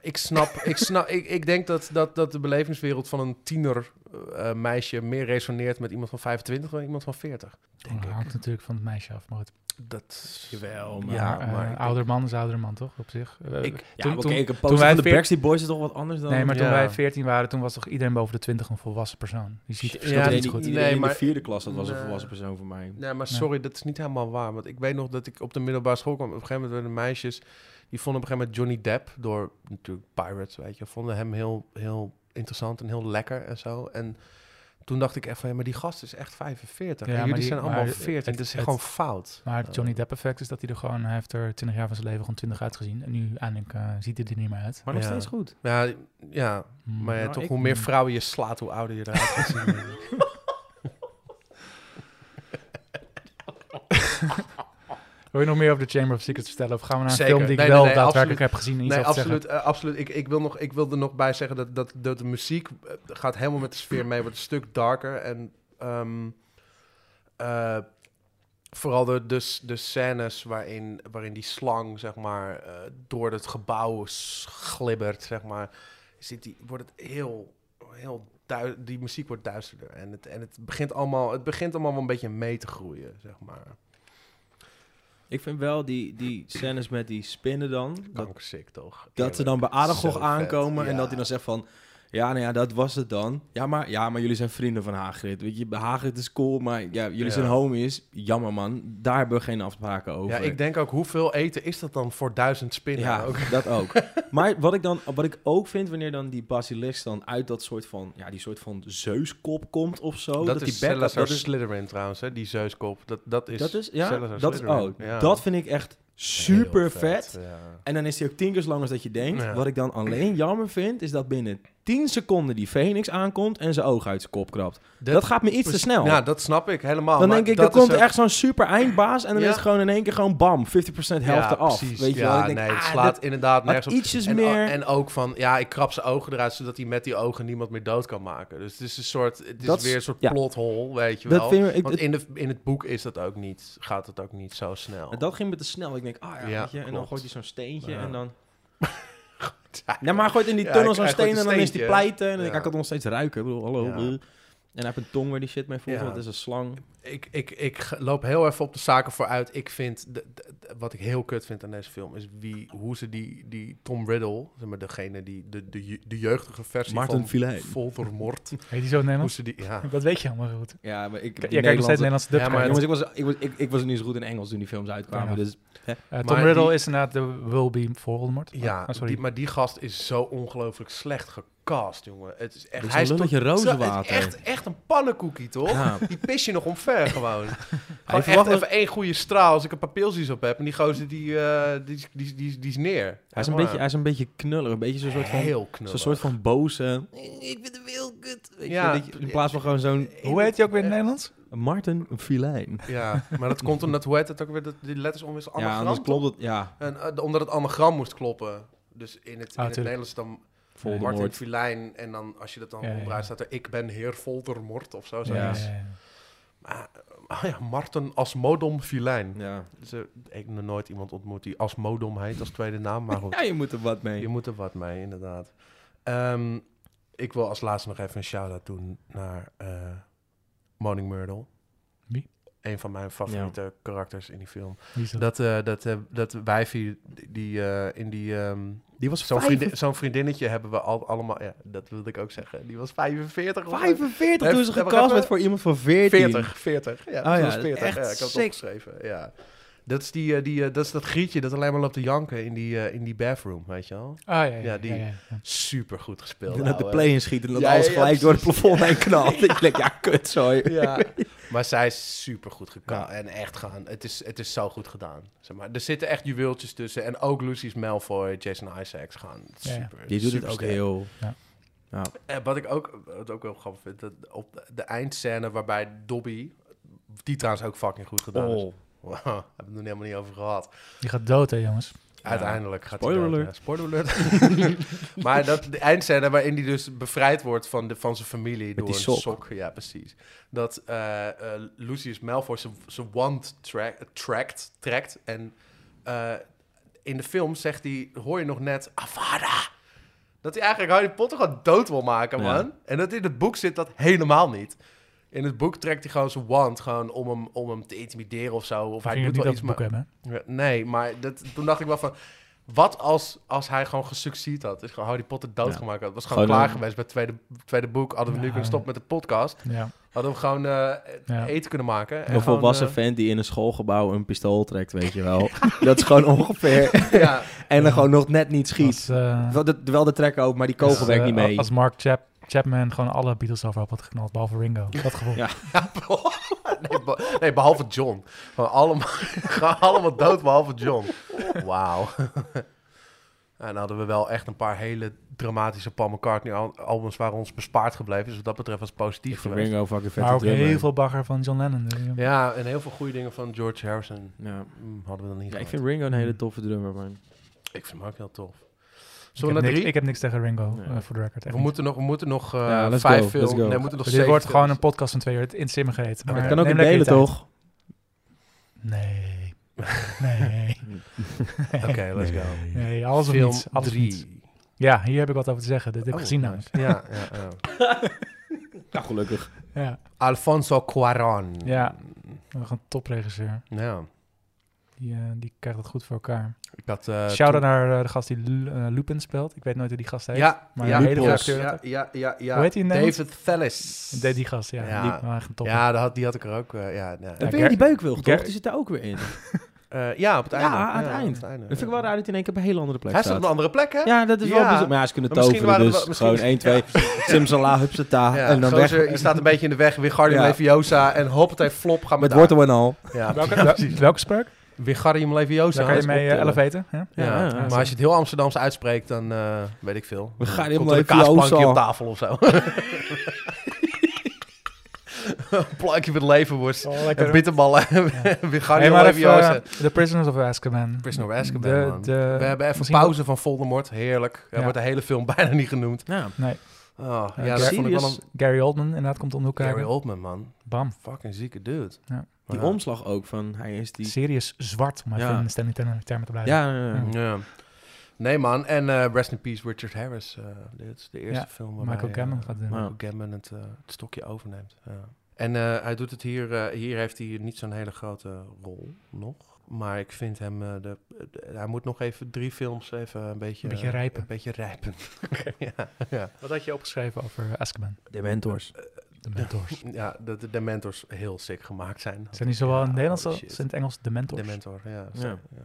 ik snap, ik snap, ik, ik denk dat, dat, dat de belevingswereld van een tiener eh, meisje meer resoneert met iemand van 25 dan iemand van 40. Denk
Dat
ik.
hangt natuurlijk van het meisje af. Maar goed.
Dat,
Jawel, maar-
ja,
Maar, eh,
maar ik denk-
ouder man is ouder man, toch? Op zich. Eh,
Ik-
Ja,
toen-
maar oké,
toen-
ik heb
wij
poster van de
veert-
Backstreet Boys is toch wat anders dan...
nee, maar toen
ja.
wij 14 waren, toen was toch iedereen boven de 20 een volwassen persoon. Je ziet het
Ja,
verschil
dat
niet
die-
goed.
die-
nee,
Nee,
in de
maar-
vierde klas, dat was een
Nee.
volwassen persoon voor mij.
Nee, maar
Nee.
sorry, dat is niet helemaal waar. Want ik weet nog dat ik op de middelbare school kwam. Op een gegeven moment werden meisjes... Die vonden op een gegeven moment Johnny Depp... door natuurlijk Pirates, weet je... vonden hem heel, heel interessant en heel lekker en zo. En toen dacht ik echt van... ja, maar die gast is echt 45.
Ja,
en
maar
jullie
die-
zijn allemaal
maar
14.
het-
dat is
het-
gewoon fout.
Maar het Johnny Depp effect is dat hij er gewoon, hij heeft er 20 jaar van zijn leven gewoon 20 uitgezien. En nu eindelijk eh, ziet hij er niet meer uit.
Maar nog
Ja.
steeds goed.
Ja, ja
Hmm.
maar ja,
Nou,
toch
ik-
hoe meer vrouwen je slaat... hoe ouder je eruit gaat zien.
Wil je nog meer over de Chamber of Secrets vertellen? Of gaan we naar een
Zeker.
film die ik
Nee, nee,
wel
nee,
daadwerkelijk heb gezien en iets
Nee,
over te
absoluut. eh, absoluut. Ik, ik, wil nog, ik wil er nog bij zeggen dat, dat, dat de muziek eh, gaat helemaal met de sfeer mee. Wordt een stuk darker. En ehm, eh, vooral de, de, s- de scènes waarin, waarin die slang zeg maar, eh, door het gebouw s- glibbert. Zeg maar, zit die, wordt het heel, heel dui- die muziek wordt duisterder. En, het, en het, begint allemaal, het begint allemaal wel een beetje mee te groeien. Zeg maar.
Ik vind wel die, die scènes met die spinnen dan... Dat,
Kankersick toch?
dat ze dan bij Adagog
Zo vet,
aankomen en
ja.
dat hij dan zegt van... Ja, nou ja, dat was het dan. Ja, maar, ja, maar jullie zijn vrienden van Hagrid. Weet je, Hagrid is cool, maar ja, jullie
Ja.
zijn homies. Jammer, man. Daar hebben we geen afspraken over.
Ja, ik denk ook, hoeveel eten is dat dan voor duizend spinnen?
Ja,
ook?
dat ook. maar wat ik, dan, wat ik ook vind, wanneer dan die basilisk dan uit dat soort van, ja, die soort van zeuskop komt of zo.
Oh, dat,
die
is
bek-
Salazar
dat is,
Slytherin trouwens, hè, die Zeuskop. Dat, dat is,
dat is, ja,
Salazar
dat is,
Slytherin.
oh,
Ja.
dat vind ik echt super
Heel
vet.
ja.
En dan is hij ook tien keer zo lang als dat je denkt.
Ja.
Wat ik dan alleen jammer vind, is dat binnen 10 seconden die Phoenix aankomt en zijn oog uit zijn kop krabt. Dat, gaat me iets te snel.
Ja, dat snap ik helemaal.
Nou. dan
maar
denk ik, er
dat is
komt
ook-
echt zo'n super eindbaas en dan
Ja.
is het gewoon in één keer gewoon bam, 50% helft
Ja,
eraf.
precies.
Weet je
ja,
wel? Ik denk,
nee, het
ah,
slaat
dat
inderdaad
had
nergens op.
ietsjes
En,
meer...
en ook van, ja, ik krap zijn ogen eruit, zodat hij met die ogen niemand meer dood kan maken. Dus het is een soort, het is
Dat is-
weer een soort
ja.
plothol, weet je
dat,
wel.
vind ik,
Want
het-
in, de, in het boek is dat ook niet, gaat het ook niet zo snel.
dat ging me te snel. Ik denk, ah ja,
Ja,
weet je, en dan
klopt.
gooit hij zo'n steentje
Ja.
en dan...
Ja.
Nee, maar hij gooit in die
Ja,
tunnel
hij-
zo'n
hij gooit
steen en
een
dan is die
steentje.
pleiten. En dan denk ik,
Ja.
ik kan het nog steeds ruiken. Ik bedoel, hallo.
Ja.
eh. En hij heeft een tong waar die shit mee voelt,
Ja.
want het is een slang.
Ik, ik, ik g- loop heel even op de zaken vooruit. Ik vind, de- de- de- wat ik heel kut vind aan deze film, is wie, hoe ze die, die Tom Riddle, zeg maar degene die, de, de, je- de jeugdige versie
Martin
van
Villain.
Voldemort,
Heet die zo in het
hoe
Nederlands?
ze die,
Oh,
ja.
Dat weet je allemaal goed.
Ja, maar ik...
Jij kijkt nog steeds Nederlandse dub.
Ja,
Ja,
maar het-
Jongens, ik was, ik, was, ik, ik was niet zo goed in Engels toen die films uitkwamen.
Ja.
Dus
Eh, Tom
maar
Riddle
die-
is inderdaad de will-be Voldemort.
Ja,
Ah, sorry.
die, maar die gast is zo ongelooflijk slecht gecast, jongen. Het is echt,
Beetje
hij is
een lulletje
tot- zo- Het
rozenwater.
is echt, echt een pannenkoekie, toch?
ja,
Die pis je nog omver gewoon.
Hij
gewoon echt
verwacht-
even één goede straal als ik een paar pilsjes op heb. En die gozer, die, eh, die, is- die, is- die, is- die is neer.
hij, is een beetje, hij is een beetje knullig. Een beetje zo'n soort van,
Heel knullig.
zo'n soort van boze... Ik vind de wereld kut. weet je,
Ja.
dat je- in plaats van gewoon zo'n... Eh,
Hoe heet die ook weer in het Nederlands?
Oh,
Martin Filijn.
Ja, maar dat komt omdat, hoe heet het ook weer, dat die letters onwissel
Ja,
anagram?
anders klopt het... Ja,
En, eh, omdat het anagram moest kloppen. Dus in het, in het
Ah, tuurlijk.
Nederlands dan Martin
Voldemort.
Filijn. En dan, als je dat dan
Ja, ja, ja.
omdraait, staat er ik ben heer Voldemort of zo.
Ja.
zoiets. Maar, ah ja, Martin Asmodom Filijn.
Ja.
Dus, eh, ik heb nog nooit iemand ontmoet die Asmodom heet als tweede naam, maar goed.
ja, je moet er wat mee.
Je moet er wat mee, inderdaad. Ehm, ik wil als laatste nog even een shout-out doen naar eh, Moaning Myrtle.
Wie?
Een van mijn favoriete karakters in die film.
Wie is dat?
Dat, eh dat, eh, dat wijfie die eh, in die... ehm,
Die was
Zo'n
vijf-
vriendin- zo'n vriendinnetje hebben we al, allemaal... Ja, dat wilde ik ook zeggen. Die was 45. of zo.
45
Hef-
toen ze
wacht
gecast
even.
werd voor iemand van 14.
40, 40. Ja,
Oh
dat
ja,
was 40.
echt
ja, ik had het
sick.
opgeschreven. Ja. Dat is, die, eh, die, eh, dat is dat grietje dat alleen maar loopt te janken in die, eh, in die bathroom, weet je wel?
Ah, ja, ja,
Ja,
ja,
die.
ja, ja.
Super goed gespeeld.
En dat de
ouwe.
play in schiet en dat
Ja,
alles
ja, ja,
gelijk door het
precies.
plafond heen knalt. Ik denk, ja, kut, sorry.
Ja, maar zij is super goed gekast.
Ja.
En echt gaan. Het is, het is zo goed gedaan. Zeg maar. Er zitten echt juweeltjes tussen. En ook Lucy's Malfoy, Jason Isaacs gaan.
Ja, ja.
Super.
Die doet het
super
ook
sterk.
heel...
Ja.
Ja.
En wat ik ook, wat ook heel grappig vind, dat op de, de eindscène waarbij Dobby, die trouwens ook fucking goed gedaan is.
Oh.
Wow, hebben we het nog helemaal niet over gehad.
Die gaat dood, hè, jongens.
Uiteindelijk gaat
Spoiler
hij dood,
alert.
ja. Spoiler alert. maar dat, de eindscène waarin hij dus bevrijd wordt van, de, van zijn familie door
die
een
sok.
sok. Ja, precies. Dat eh, eh, Lucius Malfoy zijn- zijn wand track, trackt, trekt. En eh, in de film zegt hij, hoor je nog net, Avada. Dat hij eigenlijk Harry Potter gewoon dood wil maken,
Ja.
man. En dat in het boek zit dat helemaal niet. In het boek trekt hij gewoon zijn wand gewoon om hem, om hem te intimideren of zo. Of
Hij
hij
ging het
doet
niet
wel
over het
iets, maar...
boek hebben. hè?
Ja, nee, maar dat, toen dacht ik wel van... Wat als, als hij gewoon gesucceed had? Is gewoon Harry Potter doodgemaakt had? Was gewoon,
Gewoon eh,
klaar
een-
geweest bij het tweede, tweede boek. Hadden we nu
Ja.
kunnen stoppen met de podcast.
Ja.
Hadden we gewoon eh,
Ja.
eten kunnen maken.
Een volwassen
gewoon, eh,
vent die in een schoolgebouw een pistool trekt, weet je wel. dat is gewoon ongeveer.
eh, ja,
En dan gewoon nog net niet schiet.
Als, eh,
Wel de, wel de trek ook, maar die kogel
als,
werkt
eh,
niet mee.
Als Mark Chap- Chapman gewoon alle Beatles overop had geknald, behalve Ringo. Dat gevoel.
Ja.
nee, be- nee, behalve John. Gewoon allemaal, gewoon allemaal dood, behalve John. Wauw. En dan hadden we wel echt een paar hele dramatische Paul McCartney al- albums... waar ons bespaard gebleven is. Wat dat betreft was het
Ik
positief
vind
geweest.
Ringo fucking vet.
maar ook heel veel bagger van John Lennon. dus, ja.
Ja, en heel veel goede dingen van George Harrison
Ja.
mm, hadden we dan niet
Ja, ik
gehad.
vind Ringo een hele toffe drummer, man.
Ik vind hem ook heel tof.
ik,
Zullen
heb
we naar
niks,
drie?
ik heb niks tegen Ringo,
Nee.
eh, voor de record. echt
we,
niet.
moeten nog, we moeten nog eh,
Ja, let's
vijf
go,
films.
let's go.
Nee, we moeten nog
Dit
zeven
wordt gewoon een
films.
podcast van twee uur in het simmen geheten.
Maar
Maar
dat kan ook
neem
in
lekker je
delen,
tijd.
toch?
Nee. Nee.
Oké, let's go.
Nee, alles of
Film
niets. Alles of niets.
drie.
Ja, hier heb ik wat over te zeggen. Dit heb ik
Oh,
gezien
nice.
namelijk.
Ja, ja, ja.
Ja, Nou, gelukkig.
Ja,
Alfonso Cuarón.
Ja. nog een topregisseur.
Ja.
Die, eh, die krijgt het goed voor elkaar.
Ik had, eh,
Shout-out
toen-
naar eh, de gast die Lu- eh, Lupin speelt. Ik weet nooit hoe die gast heet.
Ja,
maar
ja,
een hele
ja,
goede acteur.
ja, ja, ja, ja.
Hoe heet die in Nederland?
David Fellis.
Die, die gast, ja.
Ja.
Die waren echt een topper.
Ja, dat had, die had ik er ook. eh, ja, ja.
Dat
Ja,
weer die
Ger-
beuk wil, toch?
Ger-
Die zit daar ook weer in. Dat
Eh, ja, op het
Ja,
einde.
aan het eind. vind ik wel raar dat hij in één keer op een hele andere plek
Hij staat
staat.
op een andere plek, hè?
Ja, dat is wel
Ja.
bijzonder. Maar ja, ze kunnen
Maar misschien
toveren,
waren
dus
we wel- misschien-
gewoon 1, 2, simsala, hupsata,
Ja,
en dan
gozer,
weg.
Je staat een beetje in de weg. Wingardium
Ja.
Leviosa en hoppatee flop. Ga
Met wortel en al.
Ja,
Welke,
ja,
wel-
precies.
welke spraak?
Wingardium Leviosa.
Daar kan je
is
mee eh,
optillen.
eh?
11 eten. Ja?
Ja,
Ja, ja, ja.
maar als je het heel Amsterdams uitspreekt, dan eh, weet ik veel.
We gaan
Dan
helemaal
komt er een
even jouw
kaasplankje
zaal.
op tafel of zo. Een plankje met leverworst. En bitterballen.
Hey,
Wingardium
maar even
Leviosa.
eh, The Prisoners of Azkaban.
Prisoner of Azkaban,
De-
man.
de-
We hebben even
misschien
pauze van Voldemort. Heerlijk. Er
Ja.
wordt de hele film bijna niet genoemd.
Ja.
Oh,
Ja,
ja, dat vond ik wel een...
Gary Oldman inderdaad komt om de hoek
Gary
kijken.
Oldman, man.
Bam.
Fucking zieke dude.
Ja.
Die omslag ook van, hij is die...
Sirius zwart, om even
Ja.
in de Stanley Turner termen te blijven.
Ja, ja, ja.
Ja. Nee, man. En eh, Rest in Peace Richard Harris. eh, dit is de eerste
Ja,
film waar eh,
Michael Cameron gaat doen.
Ja.
Michael Gambon het, eh, het stokje overneemt. Ja. En eh, hij doet het hier. eh, hier heeft hij niet zo'n hele grote rol nog. Maar ik vind hem. eh, de, de- hij moet nog even drie films even een beetje.
Een beetje rijpen.
Een beetje rijpen. ja, ja.
Wat had je opgeschreven over Azkaban?
De mentors.
De mentors.
ja, dat de Dementors heel sick gemaakt zijn.
Zijn die zowel in het
Ja,
Nederlands
holy
als
shit.
in het Engels de mentors?
Dementor, ja.
Ja.
sorry, ja.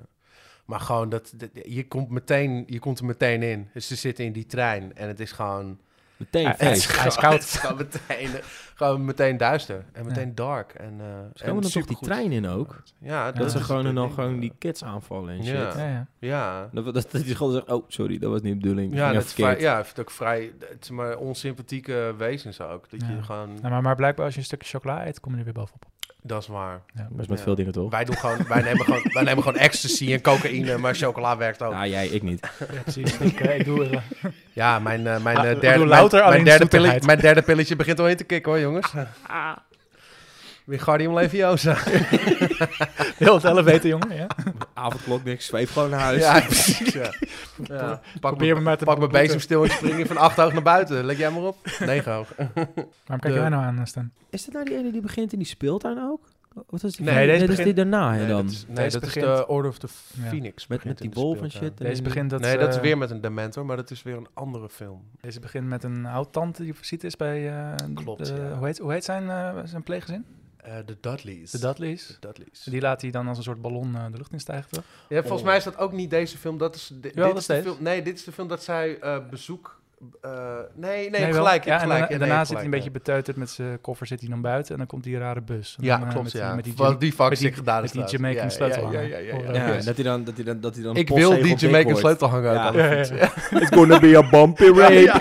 Maar gewoon, dat, dat- je, komt meteen, je komt er meteen in. Dus ze zitten in die trein en het is gewoon...
Meteen
Ah,
feest.
is- hij
gewoon-
koud.
het is gewoon, meteen, gewoon meteen duister en meteen dark. En, eh en
Ze komen dan toch die
supergoed.
trein in ook?
Ja,
Dat ze
is
gewoon
het
en dan
ding.
gewoon die kids aanvallen en shit.
Ja.
Ja, ja.
Ja,
Dat, dat, dat die gewoon zegt, oh, sorry, dat was niet de bedoeling.
ja,
Ging
dat
even
is vrij,
verkeerd.
ja, ik vind het ook vrij het is maar onsympathieke wezens ook. Dat
Ja.
je gewoon,
Nou, maar, maar blijkbaar als je een stukje chocola eet, kom je er weer bovenop.
dat is waar.
Ja.
Dat is met
Ja.
veel dingen toch?
Wij, doen gewoon, wij, nemen gewoon, wij nemen gewoon ecstasy en cocaïne, maar chocola werkt ook.
Ah, jij, ik niet.
Ja, precies. Ik, eh, ik doe er, eh,
Ja, mijn, eh, mijn,
Ah,
eh,
ik
derde,
bedoel,
mijn,
louter
mijn
alleen
derde
zoetigheid. Ah.
pilletje, mijn derde pilletje begint al in te kicken hoor, jongens. Wingardium Leviosa.
heel het elf eten, jongen. Ja.
Avondklok, niks. Zweef gewoon naar huis.
Ja, precies. Ja. Ja. Pak,
Probeer me
mijn,
maar te
pak mijn
bemoeten.
bezemstil en spring van acht hoog naar buiten. Leg jij maar op. Negen hoog.
Waarom kijk
De-
jij nou aan, eh, Stan?
Is dat nou die ene die begint in die speeltuin ook? Wat is die
Nee,
van-
deze
dat is
begint-
die daarna hè, dan.
dat is, nee,
Deze
dat is
begint-
de Order of the
Ja.
Phoenix.
met, met
begint
die
in de
bol van
speeltuin.
shit. en
Deze
dan-
begint, dat,
nee, dat is
eh,
weer met een Dementor, maar dat is weer een andere film.
Deze begint met een oud-tante die ziet is bij... eh,
Klopt,
de-
ja.
hoe, heet, hoe heet zijn, eh, zijn pleeggezin?
Eh, de Dudleys.
De Dudleys.
Dudleys.
Die laat hij dan als een soort ballon eh, de lucht instijgen, toch?
Ja, volgens
Oh.
mij is dat ook niet deze film. Dat is, di- dit
dat is
is de
deze.
film. Nee, dit is de film dat zij eh, bezoek. eh, nee, nee, je
wel.
hebt gelijk. je
Ja, en,
hebt
dan- en
gelijk. Ja, nee, je
daarna
hebt
zit hij een
gelijk,
beetje beteuterd met zijn koffer, zit hij dan buiten en dan komt die rare bus. En
Ja,
dan, eh,
klopt,
met, die-
ja.
Met die
Wat
Jim-
die fuck
met die-
zich gedaan
met
is
die
trouwens.
Jamaican
Ja, ja,
sleutel
ja,
aan,
ja,
hè.
ja, ja,
Ja,
Ja,
ja.
dat hij dan, dat hij dan, dat hij dan
Ik wil die Jamaican
sleutel.
sleutelhanger ook
Ja.
aan de
Ja, ja,
fiets.
ja.
It's gonna be a bumpy raid.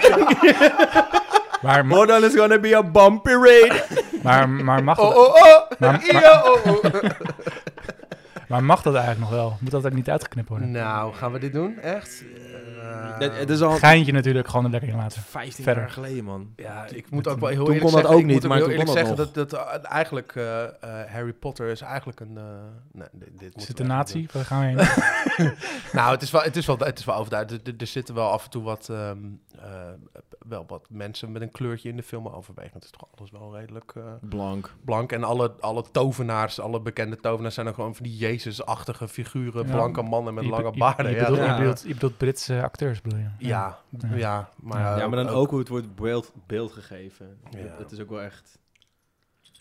Maar, ma-
Modern is gonna be a bumpy raid.
maar, maar, mag
Oh,
dat,
oh, oh!
Nou, Maar-
Io, oh, oh.
maar mag dat eigenlijk nog wel? Moet dat ook niet uitgeknipt worden?
Nou, gaan we dit doen? Echt? Eh,
Dat, dat is al
Geintje natuurlijk, gewoon er lekker in laten.
15
Verder.
jaar geleden, man.
Ja,
Toen-
ik moet
toen-
ook wel heel
toen
eerlijk
kon dat
zeggen...
ook
ik moet
niet, maar
heel
toen kon
eerlijk zeggen
dat
dat, dat eh, eigenlijk... eh, eh, Harry Potter is eigenlijk een... eh, nee, dit, dit moeten
Is
we echt
het een
niet
natie? Waar gaan we heen?
doen. Nou, het is wel, het is wel, het is wel overduidelijk. Er- Er, er zitten wel af en toe wat, ehm, eh, wel wat mensen met een kleurtje in de film. maar Overwegend is toch alles wel redelijk... eh,
Blank.
blank. En alle, alle tovenaars, alle bekende tovenaars zijn dan gewoon van die Jezus-achtige figuren.
Ja.
Blanke mannen met
Je-
lange
je-
baarden.
Je
ja,
bedoelt,
ja.
je bedoelt, je bedoelt Britse acteurs, bedoel je?
ja, ja, maar,
Ja,
eh,
Ja, maar dan ook hoe het wordt beeld, beeld gegeven.
Ja.
Dat is ook wel echt...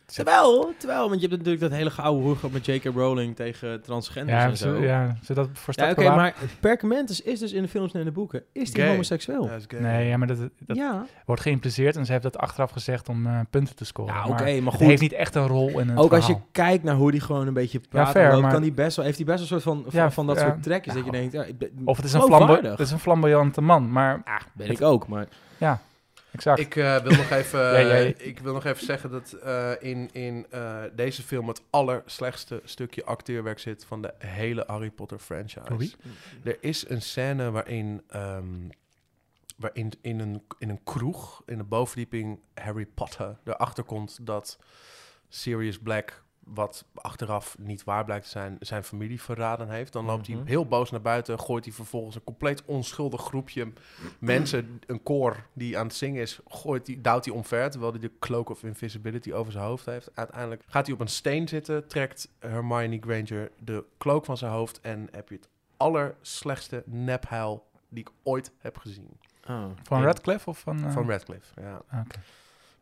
Terwijl, terwijl, want je hebt natuurlijk dat hele gouden hoer gehad met J.K. Rowling tegen transgenders
Ja,
en zo.
zo, ja, zo dat voor
Ja,
stad
oké, maar Perkamentus is dus in de films en in de boeken. Is die
Gay.
homoseksueel?
Ja, is gay.
Nee, ja, maar dat, dat
ja.
wordt geïmpliceerd en ze heeft dat achteraf gezegd om eh, punten te scoren.
Ja, oké,
maar
maar
het
goed.
heeft niet echt een rol in het
Ook als je
verhaal.
kijkt naar hoe die gewoon een beetje praat,
fair,
en loopt,
maar-
kan die best wel, heeft hij best wel een soort van, van,
Ja,
van dat
ja.
soort trekjes dat je Oh,
Nou,
denkt, ja, ik ben,
Of het is een, flambo
geloofwaardig.
het is een flamboyante man, maar
ben ik ook, maar
exact.
Ik, eh, wil nog even, eh,
Ja, ja.
ik wil nog even zeggen dat eh, in, in eh, deze film het allerslechtste stukje acteerwerk zit van de hele Harry Potter franchise.
Sorry?
Er is een scène waarin, ehm, waarin in, een, in een kroeg, in een bovendieping, Harry Potter erachter komt dat Sirius Black wat achteraf niet waar blijkt te zijn, zijn familie verraden heeft. Dan loopt
Mhm.
hij heel boos naar buiten, gooit hij vervolgens een compleet onschuldig groepje mensen, een koor die aan het zingen is, gooit die, duwt hij omver, terwijl hij de cloak of invisibility over zijn hoofd heeft. Uiteindelijk gaat hij op een steen zitten, trekt Hermione Granger de cloak van zijn hoofd en heb je het allerslechtste nephuil die ik ooit heb gezien.
Oh.
Van
Ja.
Radcliffe of van... eh,
Van Radcliffe, ja.
oké.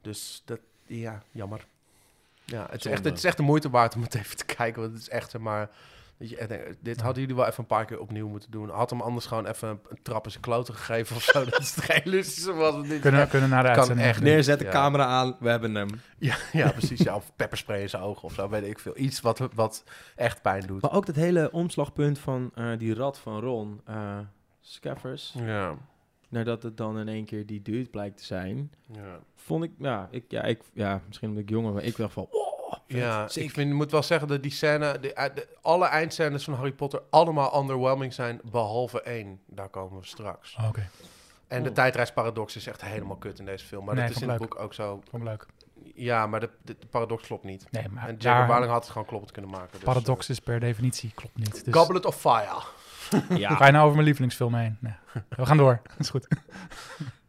Dus dat, ja, jammer. Ja, het is,
Zonde.
echt, het is echt de moeite waard om het even te kijken. Want het is echt, zeg maar... Weet je, ik denk, dit hadden jullie wel even een paar keer opnieuw moeten doen. Had hem anders gewoon even een, een trap in zijn kloten gegeven of zo. dat is het realistische was het niet.
Kunnen, kunnen naar de
Kan
uitzending.
echt
doen.
Neerzet de
Ja.
camera aan, we hebben hem.
Ja, ja, precies. Ja, of pepperspray in zijn ogen of zo, weet ik veel. Iets wat, wat echt pijn doet.
Maar ook dat hele omslagpunt van eh, die rat van Ron, eh Scaffers,
Ja,
nadat het dan in één keer die dude blijkt te zijn,
ja.
vond ik, ja, ik, ja, ik, ja misschien omdat ik jonger was, ik dacht van, oh, vet,
ja
sick.
ik vind, ik moet wel zeggen dat die scène... De, eh, de- alle eindscènes van Harry Potter allemaal underwhelming zijn, behalve één. Daar komen we straks.
Ah, Oké,
En de
Oh.
tijdreisparadox is echt helemaal kut in deze film. Maar
Nee,
dat is in
vond ik
het boek ook zo.
vond ik leuk.
Ja, maar de, de, de paradox klopt niet.
Nee, maar
en J.K.
daar-
Rowling had het gewoon kloppend kunnen maken. Dus,
paradox is per definitie klopt niet.
eh,
Dus
Goblet of Fire. Ah.
hoe
ja.
ga je nou over mijn lievelingsfilm heen? Nee. We gaan door. Dat is goed.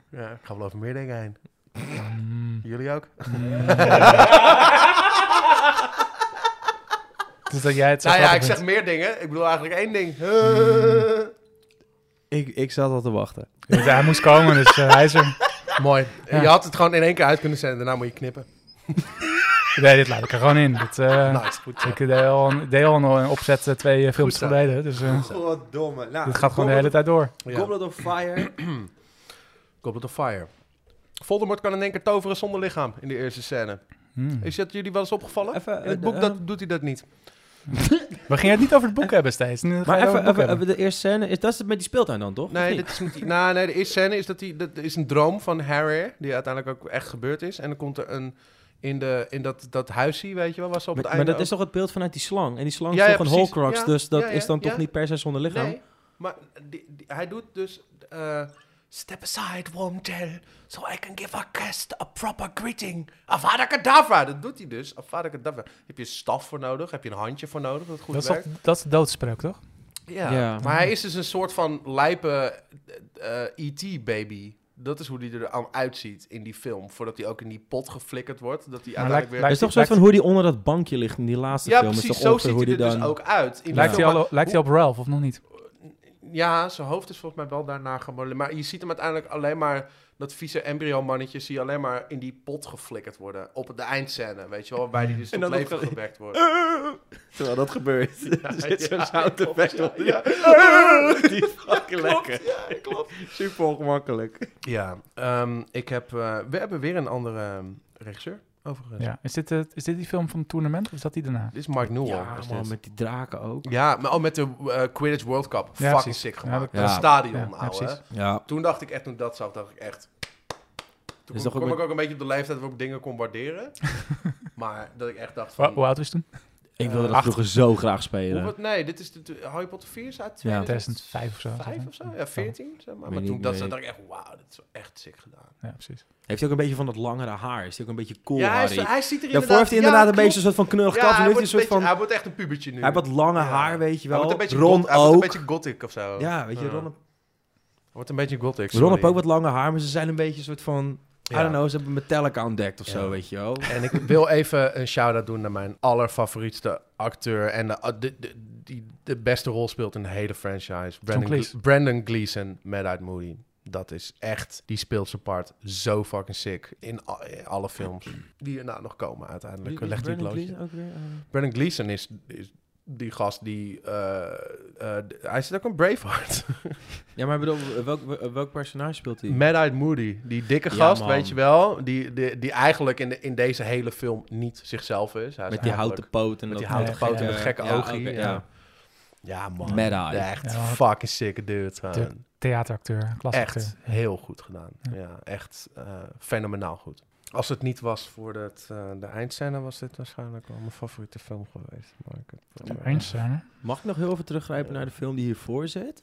Ja, ik ga wel over meer dingen heen.
Mm.
Jullie ook?
Dus dat jij het zo
Nou ja, ik
grappig Hmm.
zeg
vindt.
meer dingen. Ik bedoel eigenlijk één ding.
Ik, ik zat al te wachten.
Ja, hij moest komen, dus eh, hij is er.
Mooi.
Ja.
Je had het gewoon in één keer uit kunnen zetten. Daarna moet je knippen.
Nee, dit laat ik er gewoon in. Dat, eh,
Nice, Nou, goed zo.
Ik deed al een, deed al een opzet eh, twee eh, films
Goed zo.
geleden, dus eh,
Goddomme. Nou,
dit gaat gewoon de hele tijd door.
Ja.
Goblet of Fire.
Goblet of Fire. Voldemort kan in één keer toveren zonder lichaam in de eerste scène.
Hmm.
Is dat jullie wel eens opgevallen?
Hm. Even,
In het
eh,
boek
eh,
dat, doet hij dat niet.
We gingen het niet over het boek hebben steeds. Nu gaan we
Maar
het over
even,
het boek
even,
hebben.
even de eerste scène, is, dat is het met die speeltuin dan, toch? Of
Nee,
niet?
dit is niet, nou, nee, de eerste scène is dat die, dat is een droom van Harry, die uiteindelijk ook echt gebeurd is. En dan komt er een, in, de, in dat, dat huisje, weet je wel, was
maar,
op het
maar
einde
dat is toch het beeld vanuit die slang? En die slang
Ja,
is
ja,
toch een
precies.
Horcrux,
Ja,
dus dat
ja, ja,
is dan toch
ja.
niet per se zonder lichaam?
Nee, maar die- die- hij doet dus... eh, Step aside, Wormtail, so I can give our guest a proper greeting. Avada Kedavra, dat doet hij dus. Avada Kedavra. Heb je een staf voor nodig? Heb je een handje voor nodig? Dat het goed
Dat is,
werkt?
toch- dat is de doodspreuk, toch?
Ja.
Ja.
maar hij is dus een soort van lijpe eh, eh, ET-baby. Dat is hoe hij er aan uitziet in die film. Voordat hij ook in die pot geflikkerd wordt. Dat hij
Maar
uiteindelijk weer...
Het
lijkt-
is toch zo van hoe die onder dat bankje ligt in die laatste
ja,
film? is
precies.
toch
Zo
ongeveer
ziet
hoe
hij er
die
dus
dan...
ook uit. In die
Lijkt,
film.
hij, al, lijkt hij op Ralph of nog niet?
Ja, zijn hoofd is volgens mij wel daarna gemodeleerd. Maar je ziet hem uiteindelijk alleen maar... Dat vieze embryo-mannetje zie je alleen maar in die pot geflikkerd worden. Op de eindscène, weet je wel. Waarbij hij dus
En
tot
dan
leven
nog-
gewekt wordt.
Terwijl dat gebeurt.
Ja,
Er zit zo'n
ja,
zout
klopt,
effect
ja,
op. Die is fucking lekker.
Ja, klopt.
Super ongemakkelijk.
Ja, ehm, ik heb... eh, we hebben weer een andere ehm, regisseur, overigens.
Ja. Is, dit, het- is dit die film van het tournament of is dat die daarna?
Dit is Mark Newell.
Ja,
is
man,
dit.
met die draken ook.
Ja, maar oh, met de eh, Quidditch World Cup. Fucking
precies.
sick
Ja,
gemaakt.
dat-
Dat
ja.
stadion,
Ja, ja,
ouwe.
precies.
Ja.
toen dacht ik echt, toen ik dat zag, dacht ik echt... Toen
Is
kom,
toch ook
kom
met-
ik ook een beetje op de leeftijd waarop ik dingen kon waarderen. maar dat ik echt dacht
Wa-
van...
Hoe oud was hij toen?
Ik wilde dat
Acht.
vroeger zo graag
Eh, hoe
spelen.
wordt- nee, dit is de, de- Harry Potter 4 is uit
Ja.
2005 of zo.
2005 of zo? Ja, 14. Zeg maar.
Weet
maar
niet,
toen ik dat
nee.
zag, dacht ik echt, wauw, dat is wel echt sick gedaan.
Ja, precies.
Heeft hij ook een beetje van dat langere haar? Is hij ook een beetje cool,
ja, hij, is-
Harry?
hij ziet er inderdaad...
Daarvoor heeft hij
ja,
inderdaad een
klopt.
beetje een soort van knullig
Ja,
kaf.
hij
nu heeft
wordt,
hij een
een
soort
beetje,
van...
hij wordt echt een pubertje nu.
Hij heeft wat lange
Ja.
haar, weet je
Hij wordt
wel.
een beetje
Ron
goth- Hij wordt
ook.
een beetje gothic of zo.
Ja, weet je,
Ja.
Ron... Ron
Wordt een beetje gothic.
heeft
sorry.
ook wat lange haar, maar ze zijn een beetje een soort van... I
Ja.
don't know, ze hebben Metallica ontdekt of zo,
Ja.
weet je wel.
En ik wil even een shout-out doen naar mijn allerfavorietste acteur. En de, de, de- die de beste rol speelt in de hele franchise. Brandon,
Cleese.
Gle- Brandon Gleeson, Mad Eye Moody. Dat is echt, die speelt zijn part zo fucking sick. In, a- in alle films die erna nog komen uiteindelijk.
Wie- wie-
Leg die
Brandon
blootje.
Gleeson ook weer? eh?
Brandon Gleeson is, is die gast die... eh, eh, d- hij zit ook een Braveheart.
Ja, maar ik bedoel, welk, welk personage speelt hij?
Mad-Eyed Moody, die dikke
Ja,
gast,
man.
weet je wel. Die, die, die eigenlijk in, de, in deze hele film niet zichzelf is. Hij
Met
is
die
eigenlijk-
houten poot en
Met
dat
die houten
gekke-
poot en dat gekke
ja,
oogje.
oké,
ja.
ja.
Ja, man.
Mad eye.
Echt
Ja.
fucking sick dude. gewoon.
Tuurlijk. Theateracteur, klasacteur.
Echt heel goed gedaan.
Ja.
Ja, echt eh, fenomenaal goed. Als het niet was voor dat, eh, de eindscène, was dit waarschijnlijk wel mijn favoriete film geweest. Maar ik heb, eh,
Einstein,
Mag ik nog heel even teruggrijpen naar de film die hiervoor zit?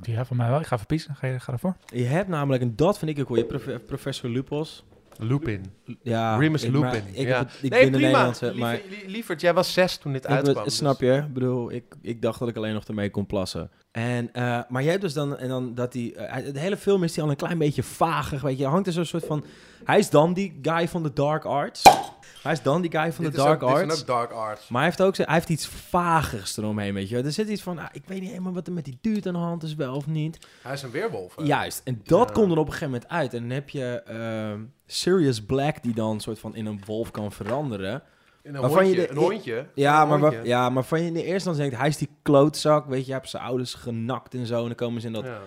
Die Ja, van mij wel. Ik ga verpiezen. Ga, je- ga ervoor.
Je hebt namelijk, en dat vind ik ook wel, je hebt prof- professor Lupos.
Lupin.
Ja,
Remus
ik-
Lupin,
maar Ik,
ja.
heb het- ik
nee,
ben een
prima.
Nederlandse, maar
Liever- lie- lieverd, jij was zes toen dit
ik
uitkwam. dus.
be- snap je? Ik bedoel, ik, ik dacht dat ik alleen nog ermee kon plassen. En, eh, maar jij hebt dus dan, en dan dat die, eh, hij- de hele film is die al een klein beetje vagig, weet je. Hij hangt er zo'n soort van, hij is dan die guy van de dark arts. Hij is dan die guy van de dark arts.
ook dark arts.
Maar hij heeft ook zo- hij heeft iets vagers eromheen, weet je. wel. Er zit iets van, ah, ik weet niet helemaal wat er met die duurt aan de hand is, wel of niet.
Hij is een weerwolf. hè?
Juist, en dat
Ja.
komt er op een gegeven moment uit. En dan heb je ehm, Sirius Black die dan soort van in een wolf kan veranderen.
En Een
Waarvan je
hondje.
de-
een hondje.
Ja,
Een
maar,
hondje.
wa- ja, maar van je in de eerste instantie denkt, hij is die klootzak, weet je, hij heeft zijn ouders genakt en zo. En dan komen ze in dat,
Ja.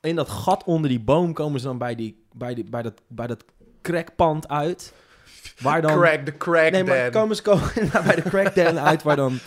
in dat gat onder die boom, komen ze dan bij, die, bij, die, bij, dat, bij dat crackpand uit. Waar dan...
Crack, de crack
nee, maar
den.
komen ze komen bij de crackden uit, waar dan...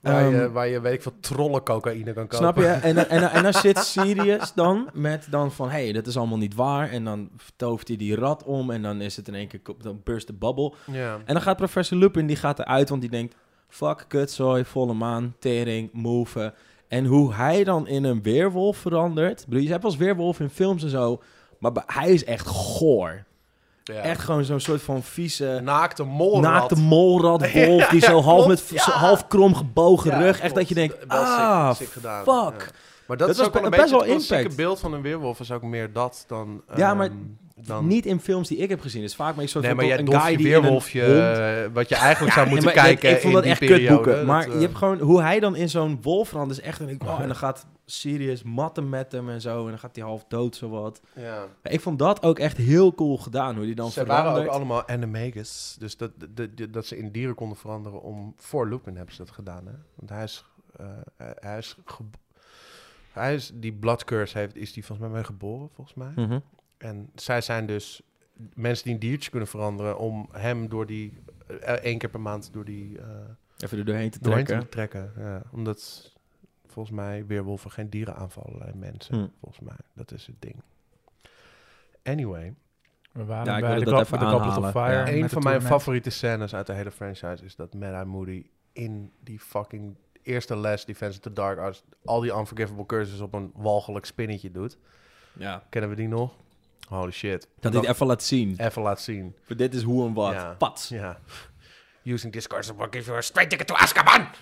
waar, je,
ehm,
waar je, weet ik veel, trollen cocaïne kan kopen.
Snap je? En, dan- en, dan- en dan zit Sirius dan met dan van, hé, hey, dat is allemaal niet waar. En dan tovert hij die rat om en dan is het in één keer, kop- dan burst de babbel.
Ja.
En dan gaat professor Lupin, die gaat eruit, want die denkt, fuck, kutzooi, volle maan, tering, move. En hoe hij dan in een weerwolf verandert. Ik Bedoel, je hebt als weerwolf in films en zo, maar bij- hij is echt goor.
Ja.
Echt gewoon zo'n soort van vieze...
naakte molrat.
Naakte molrad wolf die zo half, met,
klopt,
zo
ja.
half krom gebogen
Ja,
rug. Echt
klopt.
dat je denkt,
Wel sick-
ah,
sick gedaan,
fuck.
ja. Maar
Dat
dat,
was
is ook wel
be-
een
best
beetje
wel
het klassieke
impact.
beeld van een weerwolf. Is ook meer dat dan...
Ja, maar
ehm, dan...
Niet in films die ik heb gezien. Het is vaak maar een soort
Nee,
van
maar jij
een
doft
guy
je
die in een
weerwolfje,
hond-
eh, wat je eigenlijk zou
Nee,
moeten
maar dat-
kijken
ik vond dat
in
echt
die periode.
kutboeken.
Dat,
Maar
eh,
je hebt gewoon hoe hij dan in zo'n wolf verandert is echt en ik oh, en dan gaat Sirius matten met hem en zo en dan gaat hij half dood zowat.
eh, ja.
Maar Ik vond dat ook echt heel cool gedaan hoe die dan
Ze waren
verandert.
ook allemaal animagus. Dus dat, dat, dat, dat ze in dieren konden veranderen om... Voor Lupin hebben ze dat gedaan, hè? Want hij is... eh, hij is ge- hij is, die blood curse heeft, is die volgens mij mee geboren, volgens mij.
Mhm.
En zij zijn dus mensen die een diertje kunnen veranderen om hem door die eh, één keer per maand door die eh
Even er doorheen te
doorheen
trekken.
te trekken. Ja, omdat volgens mij weerwolven geen dieren aanvallen, alleen mensen.
Hm.
Volgens mij, dat is het ding. Anyway,
We waren
Ja, ik
bij
wilde
de,
dat
Goblet-
even
de Goblet of
aanhalen.
Fire.
Ja.
met
een
het
van mijn
toernooi.
favoriete scènes uit de hele franchise is dat Mad Eye Moody in die fucking eerste les Defense of the Dark Arts al die unforgivable curses op een walgelijk spinnetje doet.
Ja.
Kennen we die nog? Holy shit.
Dat hij het even laat zien.
even laat zien.
Voor dit is hoe en wat.
Ja.
Pats.
Ja. Using this card will give you a straight ticket to Azkaban.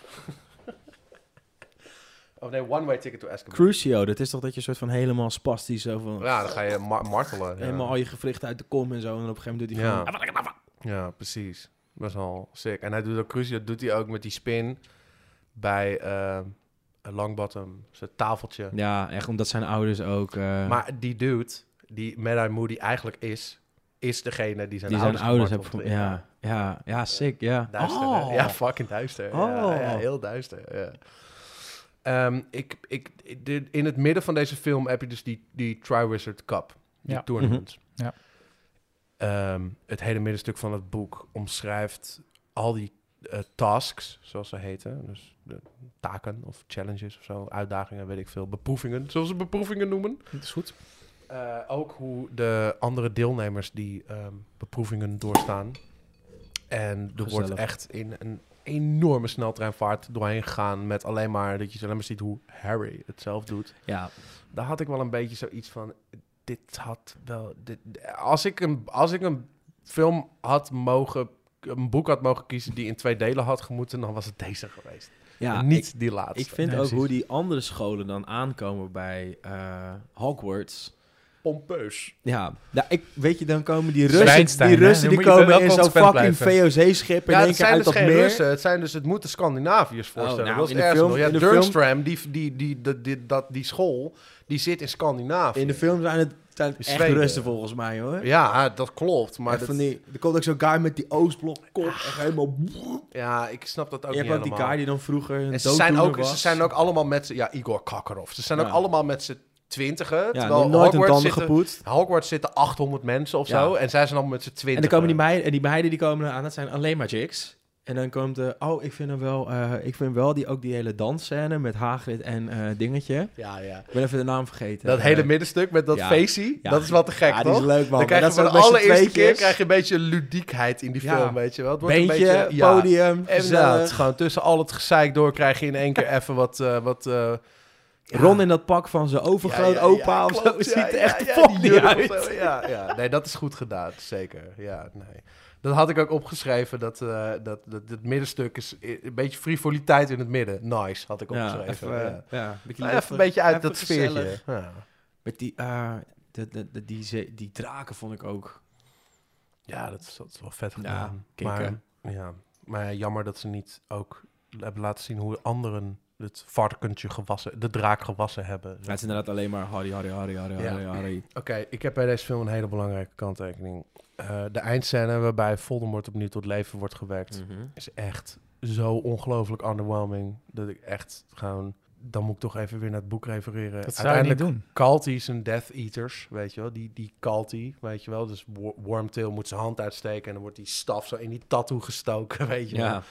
of nee, one-way ticket to Azkaban.
Crucio, dat is toch dat je soort van helemaal spastisch zo van
ja, dan ga je ma- martelen. Ja.
helemaal al je gewrichten uit de kom en zo en op een gegeven moment doet hij
Ja.
gewoon
ja, precies. Dat is al sick. En hij doet ook cruciaal, dat doet hij ook met die spin bij eh, Longbottom, zijn tafeltje.
Ja, echt omdat zijn ouders ook. eh,
Maar die dude, die Mad Eye Moody eigenlijk is, is degene die zijn
die zijn
ouders,
ouders hebben.
gemarteld
ge- Ja, ja, ja, sick, ja.
Duister, hè?
Oh.
Ja, fucking duister. Ja, ja,
Oh.
heel duister. Ja. Ehm, ik, ik, dit- in het midden van deze film heb je dus die, die Triwizard Cup, die
Ja.
tournament.
Mhm. Ja.
Ehm, het hele middenstuk van het boek omschrijft al die eh, tasks, zoals ze heten. Dus de taken of challenges of zo, uitdagingen, weet ik veel. Beproevingen, zoals ze beproevingen noemen.
Dat is goed.
Eh, ook hoe de andere deelnemers die ehm, beproevingen doorstaan. En er wordt
Gezellig.
echt in een enorme sneltreinvaart doorheen gegaan. Met alleen maar dat je alleen maar ziet hoe Harry het zelf doet.
Ja,
Daar had ik wel een beetje zoiets van. Dit had wel. Dit, als, ik een, als ik een film had mogen. Een boek had mogen kiezen die in twee delen had gemoeten, dan was het deze geweest.
ja
En niet die laatste.
Ik, ik vind
Nee,
ook
precies.
hoe die andere scholen dan aankomen bij eh, Hogwarts.
pompeus.
Ja, nou, ik, weet je, dan komen die Russen,
Zwijnstein,
die,
hè?
Russen,
Dan
die
moet je
komen
wel
in zo'n fucking
consequent
VOC-schip in
Ja,
één keer
het zijn
uit
dus
dat
geen
meer.
Russen. Het zijn dus, het moeten Scandinaviërs voorstellen.
nou,
dat is
in de
ergens
film-
nog. Ja,
in de
Durmström, die, die, die, die, die- dat, die school, die zit in Scandinavië.
In de film zijn het, zijn het
In
echt
Zweden.
Russen volgens mij, hoor.
Ja, dat klopt.
maar
Maar dat-
van die, er komt ook zo'n guy met die Oostblokkop. echt helemaal...
ja, ik snap dat ook
je hebt
niet
ook die
helemaal.
guy die dan vroeger een
en ze, zijn
dooddoener
ook, ze
was.
zijn ook allemaal met z'n... Ja, Igor Kakarov. Ze zijn
Ja.
ook allemaal met z'n twintigen.
ja,
terwijl
nooit een
Hogwarts
tanden
zitten,
gepoetst.
Hogwarts zitten 800 mensen of
Ja.
zo. En zij zijn allemaal met z'n twintigen.
En dan komen die meiden, en die meiden die komen aan, dat zijn alleen maar chicks. En dan komt, eh, oh, ik vind hem wel, eh, ik vind wel die, ook die hele dansscène met Hagrid en eh, Dingetje.
Ja, ja.
Ik ben even de naam vergeten.
Dat
Eh,
hele middenstuk met dat
ja.
feestje,
Ja.
dat is wel te gek,
Ja, die
toch?
is leuk, man.
Dan krijg je
dat
voor de
zijn met z'n
allereerste keer
tweetjes.
krijg je een beetje ludiekheid in die
Ja.
film, weet je wel. Het wordt
Beentje,
een beetje, ja. eh,
podium,
Inderdaad,
gezellig.
gewoon tussen al het gezeik door krijg je in één keer even wat, eh, wat eh,
Ron in dat pak van zijn overgroot opa of zo.
klopt,
ziet
ja,
er
ja,
echt
ja,
vol
die
niet
jurk
uit.
of zo, Ja, ja, nee, dat is goed gedaan, zeker. Ja, nee. Dat had ik ook opgeschreven, dat, eh, dat, dat het middenstuk is i- een beetje frivoliteit in het midden. Nice, had ik
Ja,
opgeschreven.
even,
ja.
eh, ja, een beetje
Nou,
luchtig,
even een beetje uit
even
dat sfeertje.
gezellig.
Ja.
Met die, eh, de, de, de- die, ze- die draken vond ik ook.
ja, dat is, dat is wel vet
Ja,
gedaan. maar,
kicken.
ja, maar ja, jammer dat ze niet ook hebben laten zien hoe anderen het varkentje gewassen, de draak gewassen hebben.
Ja, het is inderdaad alleen maar Harry, Harry, Harry, Harry,
Ja.
Harry, Harry.
Oké, ik heb bij deze film een hele belangrijke kanttekening. Eh, de eindscène waarbij Voldemort opnieuw tot leven wordt gewerkt
Mm.
Mhm.
is echt zo ongelooflijk underwhelming dat ik echt gewoon dan moet ik toch even weer naar het boek refereren.
Dat zou je niet doen.
Kalti is een Death Eaters, weet je wel? Die, die Kalti, weet je wel? Dus Wor- Wormtail moet zijn hand uitsteken en dan wordt die staf zo in die tattoo gestoken, weet je wel?
Ja,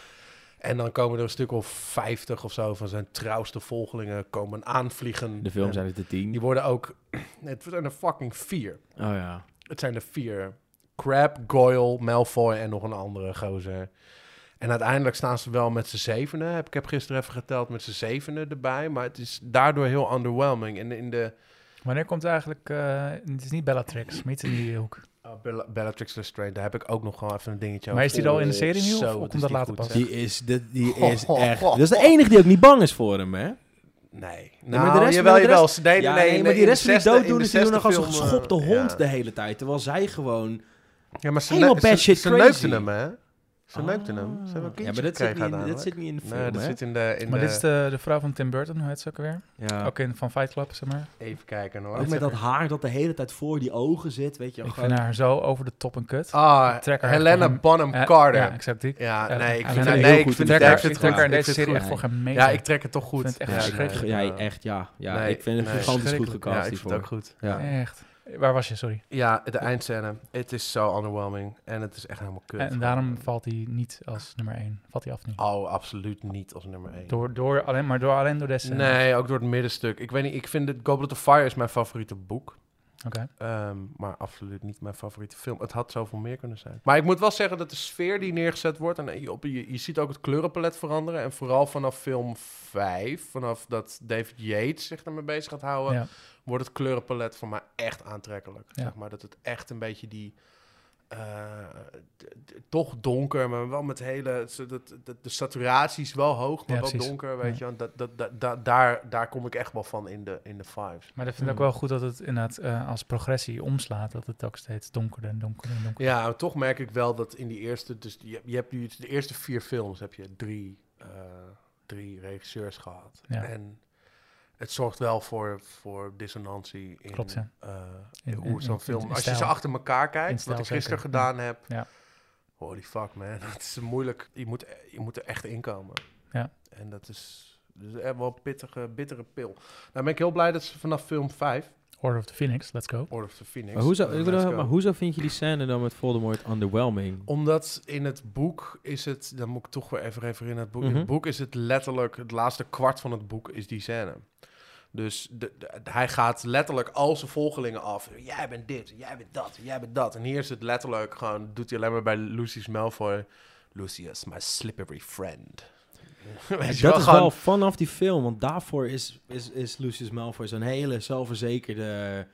En dan komen er een stuk of 50 of zo van zijn trouwste volgelingen komen aanvliegen.
in de film
En
zijn het de tien.
Die
Oh
worden ook... Het zijn er fucking vier.
ja.
Het zijn er vier. Crab, Goyle, Malfoy en nog een andere gozer. En uiteindelijk staan ze wel met z'n zevenen. Heb, ik heb gisteren even geteld met z'n zevenen erbij. Maar het is daardoor heel underwhelming. En in de...
Wanneer komt eigenlijk... eh, het is niet Bellatrix, maar iets in die hoek.
oh, Bella- Bellatrix Lestrange, daar heb ik ook nog gewoon even een dingetje
Maar is die
Oh,
al in de serie nu, of-
zo,
of
het
komt
is
dat
niet
later
goed,
pas?
zeg.
Die is, de, die is echt... Dat is de enige die ook niet bang is voor hem, hè?
Nee.
maar
Nou,
de rest-
jawel,
maar de
jawel.
rest-
Nee, nee,
ja,
nee,
nee, maar
in
die
de
rest van die
zesde-
dood doen,
in de
is die doen nog
zesde
als een
film, eh,
geschopte hond
ja.
de hele tijd. Terwijl zij gewoon...
Ja, maar ze,
Helemaal
neu-
bad
ze,
shit
ze
crazy.
neukten hem, hè? Ze
Ah.
neukten hem. Ze hebben een kindje
Ja, maar dat zit,
gekregen
niet in, dat
uiteindelijk.
zit niet in de film,
Nee, dat
hè?
zit in de... In
Maar
de...
dit is de, de vrouw van Tim Burton, hoe heet ze ook alweer?
ja.
Ook in Van Fight Club, zeg maar.
Even kijken, hoor.
Ook met dat haar dat de hele tijd voor die ogen zit, weet je.
Ik
gewoon-
vind haar zo over de top en kut.
Ah,
Trek haar
Helena
gewoon-
Bonham
Eh,
Carter.
Ja,
Ja,
exact die.
ja,
Eh,
nee, ik
Helena
vind
Bonham
het
heel
nee, ik
goed
vind
in
Trek
de
nee,
tekst.
haar,
ik vind
ik
het
trek haar
goed.
in
Ik
deze
vind het
serie echt
goed.
voor geen meter.
Ja, ik trek het toch goed.
Ik vind het echt
Ja,
verschrikkelijk.
ja,
nee,
ja, echt, ja. ja.
Nee,
ik vind het
nee,
gigantisch goed
verschrikkelijk.
gecast
Ja, ik vind
hiervoor.
het ook goed.
Ja.
Echt. Waar was je, sorry?
Ja, de eindscène. Het is zo underwhelming. En het is echt helemaal kut.
En daarom valt hij niet als nummer 1. Valt hij af nu.
Oh, absoluut niet als nummer 1.
Door, door, alleen, maar door, alleen door deze.
Nee, ook door het middenstuk. Ik weet niet, ik vind het Goblet of Fire is mijn favoriete boek.
Oké.
Ehm, maar absoluut niet mijn favoriete film. Het had zoveel meer kunnen zijn. Maar ik moet wel zeggen dat de sfeer die neergezet wordt... en eh, je, op, je, je ziet ook het kleurenpalet veranderen. En vooral vanaf film 5, vanaf dat David Yates zich ermee bezig gaat houden...
Ja.
wordt het kleurenpalet voor mij echt aantrekkelijk.
Ja.
Zeg maar dat het echt een beetje die... eh, d- d- toch donker, maar wel met hele... zo Dat, dat, de saturatie is wel hoog, maar
Ja,
wel
precies.
donker, weet
Ja.
je. wel. Dat, dat, dat, dat- daar, daar kom ik echt wel van in de, in de vibes.
Maar dat vind ik ook wel goed dat het inderdaad eh, als progressie omslaat. Dat het ook steeds donkerder en donkerder en donkerder.
Ja, maar toch merk ik wel dat in die eerste... Dus je, je hebt nu de eerste vier films heb je drie, eh, drie regisseurs gehad.
Ja.
En het zorgt wel voor, voor dissonantie in,
Klopt, ja.
eh,
In- in-
hoe zo'n
in-
film...
in
als je
stijl.
ze achter elkaar
In
kijkt,
stijl
wat ik gisteren
zeker,
gedaan heb...
Ja.
Holy fuck, man. Dat is moeilijk. Je moet, je moet er echt in komen.
Ja.
En dat is, dat is echt wel een pittige, bittere pil. Nou ben ik heel blij dat ze vanaf film 5,
Order of the Phoenix, let's go.
Order of the Phoenix...
Maar hoezo,
eh,
ik
let's
bedoel,
go.
maar hoezo vind je die scène dan met Voldemort underwhelming?
Omdat in het boek is het, dan moet ik toch weer even refereren naar het boek. In
Mhm.
het boek is het letterlijk, het laatste kwart van het boek is die scène. Dus de, de- hij gaat letterlijk al zijn volgelingen af. Jij bent dit, jij bent dat, jij bent dat. En hier is het letterlijk gewoon, doet hij alleen maar bij Lucius Malfoy. Lucius, my slippery friend. Weet je
dat is
gewoon-
wel vanaf die film, want daarvoor is, is, is Lucius Malfoy zo'n hele zelfverzekerde...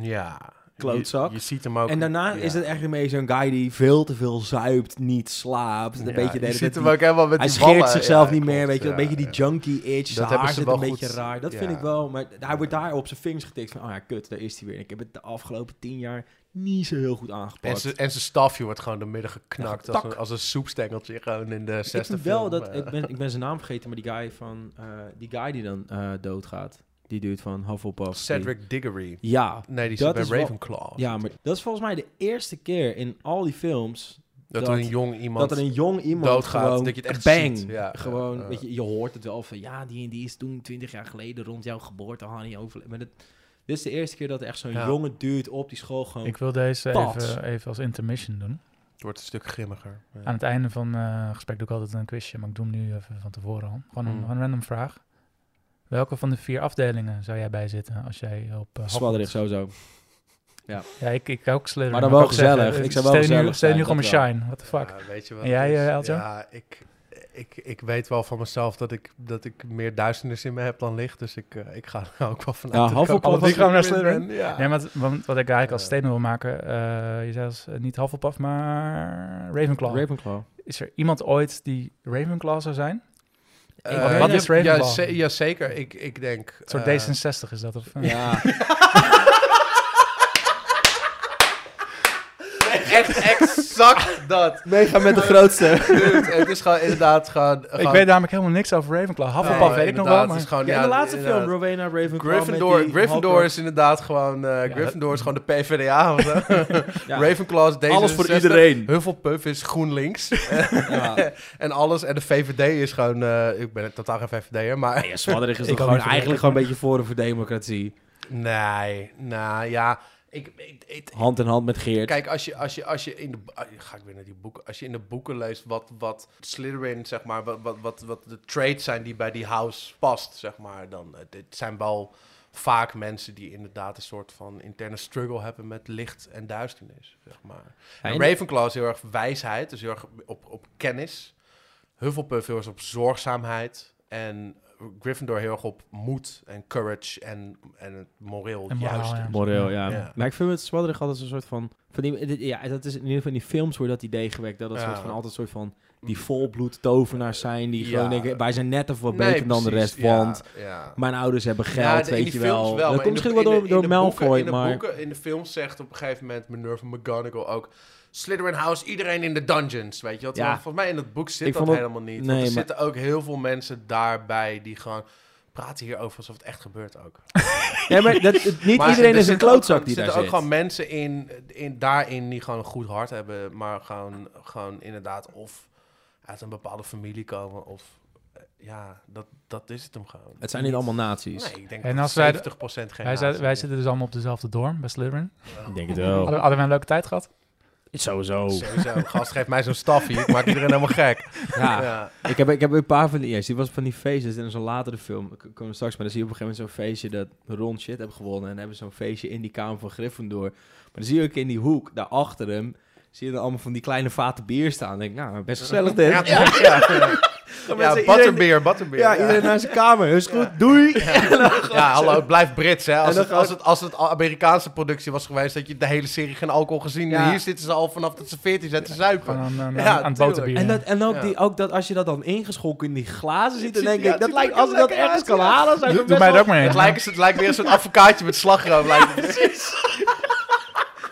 Ja.
Klootzak.
Je, je ziet hem ook.
en daarna
ja.
is het echt een beetje zo'n guy die veel te veel zuipt, niet slaapt. Een
Ja,
beetje de
je
hele tijd
ziet hem
die-
ook helemaal met
hij
die
scheert
ballen.
zichzelf
Ja,
niet meer,
klopt,
weet je,
ja,
een beetje die
ja.
junkie itch. Zijn
hebben
haar
ze
zit
wel
een beetje
goed,
raar. Dat
ja.
vind ik wel, maar hij wordt daar op zijn vingers getikt van, oh ja, kut, daar is hij weer. En ik heb het de afgelopen tien jaar niet zo heel goed
En
aangepakt.
zijn en zijn stafje wordt gewoon door midden geknakt.
Ja,
als,
tak.
een, als een soepstengeltje gewoon in de
ik
zesde
vind wel
film,
dat,
eh.
ik ben, ik ben zijn naam vergeten, maar die guy van, eh, die guy die dan eh, doodgaat, die duurt van Hufflepuff.
Cedric Diggory.
Die- Ja,
Nee, die
Dat
zit bij
is wel-
Ravenclaw.
ja, maar dat is volgens mij de eerste keer in al die films
dat,
dat-
er een jong iemand...
dat er een jong iemand
doodgaat,
gewoon
dat je het echt
bang.
ziet. Ja,
gewoon,
ja, ja.
weet je, je hoort het wel van ja, die en die is toen 20 jaar geleden rond jouw geboorte Hanny overleden. Maar dat, dit is de eerste keer dat er echt zo'n
Ja.
jonge duurt op die school gewoon.
Ik wil deze
Pats.
even, even als intermission doen.
Het wordt een stuk grimmiger. Ja.
Aan het einde van eh, het gesprek doe ik altijd een quizje, maar ik doe hem nu even van tevoren al. Gewoon
Hmm.
een,
Mm.
een random vraag. Welke van de vier afdelingen zou jij bijzitten als jij op... eh,
Zwadderig sowieso.
Hufflepuff- Ja, ik, ik ook slidder.
Maar dan wel gezellig. Ik zou wel
Stel je nu,
gezellig
stel je nu
zijn,
gewoon
dat
mijn shine. What the fuck?
Ja, weet je wat
En jij,
het is?
eh, Elton?
Ja, ik... ik, ik weet wel van mezelf dat ik, dat ik meer duisternis in me heb dan licht. Dus ik, eh, ik ga er ook wel vanuit.
Ja,
dat
half
ik
op
ook
half
wel
op gaan we naar
lichter
Slytherin.
ben,
Ah.
Ja.
Ja, maar wat, want wat ik eigenlijk als
Ja.
statement wil maken, eh, je zei als, eh, niet Hufflepuff, maar Ravenclaw.
Ravenclaw.
is er iemand ooit die Ravenclaw zou zijn?
Eh,
Wat- wat is
ja, ja,
Ravenclaw?
ze- ja, zeker. Ik, ik denk...
Een soort
eh,
D66 is dat? Of, eh?
Ja.
eh, Echt exact dat.
Mega met de grootste.
Dude, het is gewoon inderdaad gewoon...
Ik weet namelijk helemaal niks over Ravenclaw. Hufflepuff weet ik nog wel, maar...
Gewoon,
Ja, in de laatste film,
inderdaad.
Rowena Ravenclaw.
Oh, Gryffindor,
met die
Gryffindor
Hulk-
is inderdaad gewoon... eh,
Ja,
Gryffindor is gewoon de PvdA. of zo. Ravenclaw is D66.
Alles voor iedereen.
Hufflepuff is GroenLinks.
Ja.
en alles. En de VVD is gewoon... eh, ik ben totaal geen VVD'er, maar...
Ja, Swadderig is
Ik
toch
ook
gewoon
niet.
eigenlijk gewoon een beetje voor voor democratie.
Nee, nou ja... Ik, ik, ik-
Hand in hand met Geert.
Kijk, als je, als je, als je in de... ah, Ga ik weer naar die boeken. Als je in de boeken leest wat, wat Slytherin, zeg maar... Wat, wat, wat, wat de traits zijn die bij die house past, zeg maar. Dan, eh, dit zijn wel vaak mensen die inderdaad een soort van interne struggle hebben... met licht en duisternis, zeg maar.
Ja,
En
en-
Ravenclaw is heel erg wijsheid, dus heel erg op, op kennis. Hufflepuff heel erg op zorgzaamheid. En Gryffindor heel erg op moed en courage en, en het moreel
En moraal,
juist.
ja.
Moreel, Dus ja.
Ja.
Maar ik vind het zwadderig altijd een soort van... van die, dit- ja, dat is in ieder geval in die films wordt dat idee gewekt. Dat het
Ja.
soort van altijd een soort van... Die volbloed tovenaars zijn. Die gewoon
Ja.
denken, wij zijn net of wat beter dan de
precies,
rest.
ja,
Want
ja.
mijn ouders hebben geld,
Ja, de- in
weet
die
je
films
wel.
maar
Dat
in
komt
de-
misschien wel
in
door,
de-
door
in de
Malfoy,
boeken- in de
maar...
boeken- in de film zegt op een gegeven moment Minerva McGonagall ook... Slytherin House, iedereen in de dungeons, weet je wat?
Ja.
Volgens mij in het boek
Ik
zit dat
vond het-
helemaal niet. want
nee,
er
maar-
zitten ook heel veel mensen daarbij die gewoon... Praten hierover alsof het echt gebeurt ook.
Ja, maar dat, het- niet
Maar
iedereen
er
is een
zitten
klootzak
ook,
die daar
Er
zit.
zitten ook gewoon mensen in, in, daarin die gewoon een goed hart hebben... maar gewoon, gewoon inderdaad of uit een bepaalde familie komen... of eh, ja, dat, dat is het hem gewoon.
Het zijn niet allemaal nazi's.
Nee, ik denk
En
dat
als wij de-
70% geen
Wij, zijn-
nazi
wij
is.
zitten dus allemaal op dezelfde dorm bij Slytherin.
Ik denk het wel.
Hadden, hadden we een leuke tijd gehad?
Sowieso.
Oh.
Sowieso, gast geeft mij zo'n staffie, ik maak iedereen helemaal gek.
Ja.
Ja.
Ik heb, ik heb een paar van die... Yes, die was van die feestjes. En dan zo'n latere film. Ik kom er straks maar Dan zie je op een gegeven moment zo'n feestje dat Ron shit heeft gewonnen. En hebben zo'n feestje in die kamer van Gryffindor. Maar dan zie je ook in die hoek, daarachter hem... Zie je dan allemaal van die kleine vaten bier staan. Dan denk ik, nou, best gezellig dit.
Ja,
Ja,
ja. ja.
iedereen-
butterbeer, butterbeer.
iedereen naar zijn kamer. Is goed,
Ja.
doei!
Ja, hallo, het blijft Brits, hè. Als
En dan
het, als, het, als het Amerikaanse productie was geweest, dat je de hele serie geen alcohol gezien.
Ja.
Hier zitten ze al vanaf dat ze 14 zijn te zuipen.
Gewoon aan, aan,
Ja,
aan het
tuurlijk.
boterbier.
En, dat, en ook,
Ja.
die, ook dat als je dat dan ingeschonken in die glazen ziet, dan
ziet-
denk
ja,
ik,
het
dat
ziet
lijkt,
er
als ik dat
lekker
ergens
uit,
kan
ja.
halen, zou ik
Doe,
het best
doe mij
wel...
er ook mee.
Het, lijkt, het lijkt weer zo'n advocaatje met slagroom. lijkt het.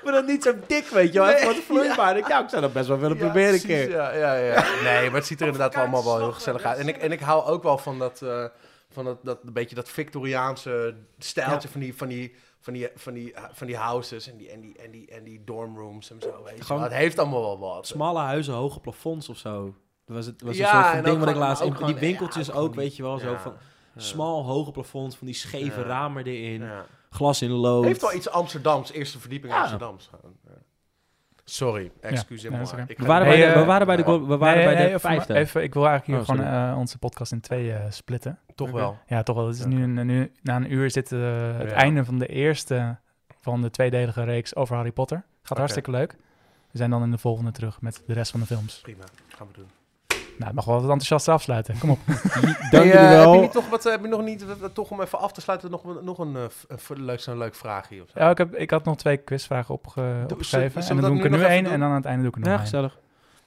Maar dan niet zo dik, weet je wel.
Nee,
Even wat vloeibaar. Ik, ja, ik zou dat best wel willen
Ja,
proberen een
precies,
keer.
Ja, ja, ja. Nee, maar het ziet er inderdaad wel allemaal wel heel gezellig uit. En ik, en ik hou ook wel van dat, eh, van dat, dat een beetje dat Victoriaanse stijltje van die. Van die van die, van, die, eh, van die houses en die, en die, en die, en die dormrooms en zo. Weet je.
Gewoon
wel. het heeft allemaal wel wat.
Smalle huizen, hoge plafonds of zo. Dat was, het, was
Ja,
een soort
en
van
ook
ding wat ik
gewoon-
laatst...
maar ook
in- die
gewoon, ja,
winkeltjes
ook
ook,
gewoon
weet je wel. Zo
Ja,
van
ja.
smal, hoge plafonds, van die scheve
Ja.
ramen erin.
Ja.
Glas in lood.
Het heeft wel iets Amsterdams, eerste verdieping
Ja.
Amsterdams. gewoon. Ja. Sorry, excuse
nee,
me.
dat is
maar
oké.
ik
We
ga-
waren,
Hey,
bij, de,
eh,
we waren
oh.
bij de, go- we waren
Nee,
bij
nee,
de
even,
vijfde.
even, ik wil eigenlijk
Oh,
hier gewoon
sorry.
eh, onze podcast in twee eh, splitten.
Toch
Oké.
wel.
Ja, toch wel. Het is nu, een- nu na een uur zit eh, het
Ja.
einde van de eerste van de tweedelige reeks over Harry Potter. Gaat hartstikke leuk. We zijn dan in de volgende terug met de rest van de films.
Prima, gaan we doen.
Nou, het mag wel wat enthousiaster afsluiten. Kom op.
Dank
Hey, eh,
jullie
Heb je,
wel.
niet nog wat, heb je nog niet, eh, toch om even af te sluiten, nog, nog een, eh, v- een v- leuk, zo'n leuk vraagje of zo?
Ja, ik, heb, ik had nog twee quizvragen opge-
Doe- zullen-
opgeschreven.
zullen
En
we
dan
dat
doe ik
nu
er nu
nog even
één
doen?
en dan aan het einde doe ik er nog
Ja,
één.
gezellig.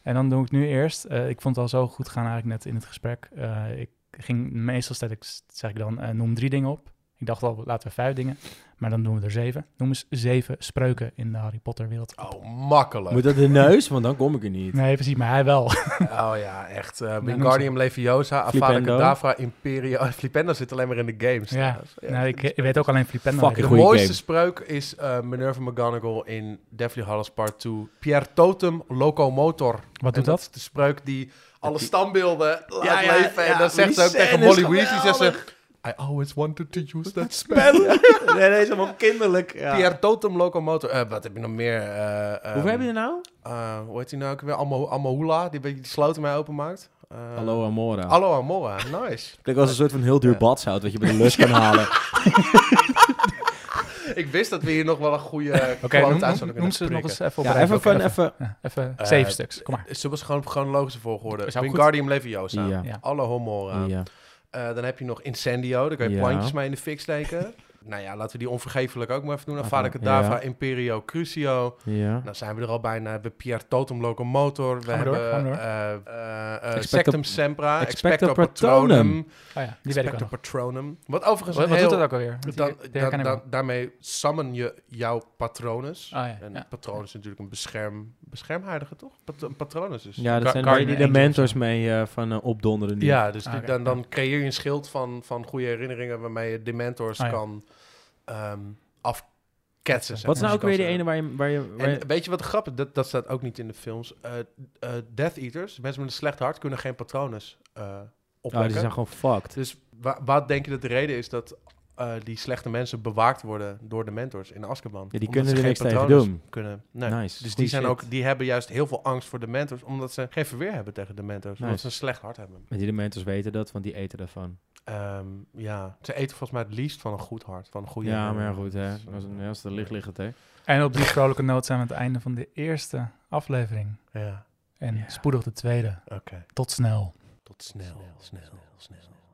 En dan doe ik nu eerst. eh, ik vond het al zo goed gaan eigenlijk net in het gesprek. Eh, ik ging meestal stel ik, zeg ik dan eh, noem drie dingen op. Ik dacht al laten we vijf dingen, maar dan doen we er zeven. Noem eens zeven spreuken in de Harry Potter wereld.
Oh, makkelijk.
Moet dat de neus? Want dan kom ik er niet.
Nee, precies, maar hij wel.
Oh ja, echt. eh
noem
Wingardium Leviosa, Avada
Flipendo.
Kedavra, Imperio. Eh, Flipendo zit alleen maar in de games.
Ja.
trouwens.
nou, ik, ik weet ook alleen Flipendo.
Fucking
De
Goeie
mooiste
game.
spreuk is eh, Minerva McGonagall in Deathly Hallows Part 2. Pier totem locomotor.
Wat
En
doet dat?
is de spreuk die alle standbeelden laat
Ja, ja,
leven. en
ja,
dan zegt ze ook
die
tegen
scène is
Molly Weasley, zegt ze...
geweldig.
I always wanted to use that spell.
Spel. nee, nee, is helemaal kinderlijk. Ja.
Pier totem locomotor. Eh, wat heb je nog meer? Eh, ehm,
Hoeveel heb je er nou?
eh, hoe heet die nou ook weer? Ammo- Amahula, die, die sloten mij openmaakt. Eh,
Hallo Amora.
Hallo Amora, nice.
Klinkt als een soort van heel duur badzout wat je bij de lus kan halen.
ik wist dat we hier nog wel een goede
Oké, noem-
kwaliteit
noem,
zouden
noem
kunnen
ze nog eens
bespreken.
even op
Ja,
rij.
even
Oké,
van, even...
ja, even
Eh,
zeven stuks, kom maar.
Zullen we ze gewoon op chronologische volgorde?
Is ook goed.
Wingardium Leviosa.
Ja.
Ja.
Alle Homora. Eh, dan heb je nog Incendio. Daar kun je
Ja.
plantjes mee in de fik steken. nou ja, laten we die onvergeeflijk ook maar even doen.
Laten
Avada
we-
Kedavra,
ja.
Imperio, Crucio.
Ja.
Nou zijn we er al bijna. We hebben Pier Totem Locomotor. We
Gaan we door, gaan
hebben
we door.
eh, eh, eh,
Expecto-
Sectum Sempra.
Expecto
Expecto
Patronum.
Patronum.
Oh ja, die weet ik wel
Expecto
nog.
Patronum. Wat overigens
Wat,
een
wat doet
heel...
dat ook alweer? Want die-
Dan,
die
dan,
herken ik
dan-
wel.
daarmee summon je jouw patronus.
Ah, ja,
En
ja.
patroon is natuurlijk een bescherm, beschermheidige, toch? Pat een patronus is.
Ja,
Ka-
dat zijn
Guardian
waar die de
Angels.
mentors mee eh, van eh, opdonderen. nu.
Ja, dus die-
Ah, oké.
dan, dan creëer je een schild van, van goede herinneringen waarmee je dementors
Ah, ja.
kan ehm, afketsen. zeg
Wat is
maar. Dus
nou ook
Je
weer
kan
die
ze-
ene waar je... Waar je, waar je-
eh,
Ah,
En weet je wat grappig is? Dat, dat staat ook niet in de films. Eh, eh, Death Eaters, mensen met een slecht hart, kunnen geen patronus eh
oh, die
opwekken.
zijn gewoon fucked.
Dus wa- wat denk je dat de reden is dat eh, die slechte mensen bewaakt worden door de mentors in Azkaban?
Ja, die
Omdat
kunnen
ze
er
geen
niks tegen
patronus
doen.
Kunnen. Nee.
Nice.
Dus die,
Goeie
zijn
shit.
ook, die hebben juist heel veel angst voor de mentors, omdat ze geen verweer hebben tegen de mentors. Omdat
Nice.
ze een slecht hart hebben.
Maar die de mentors weten dat, want die eten daarvan.
Ehm, ja, ze eten volgens mij het liefst van een goed hart, van een goede
ja, maar ja,
herinnering.
goed, hè.
Dus, eh,
Als, een, als het licht ligt het, hè.
En op die vrolijke noot zijn we aan het einde van de eerste aflevering.
Ja,
En
Ja.
spoedig de tweede.
oké.
Tot snel.
Tot snel, snel, snel.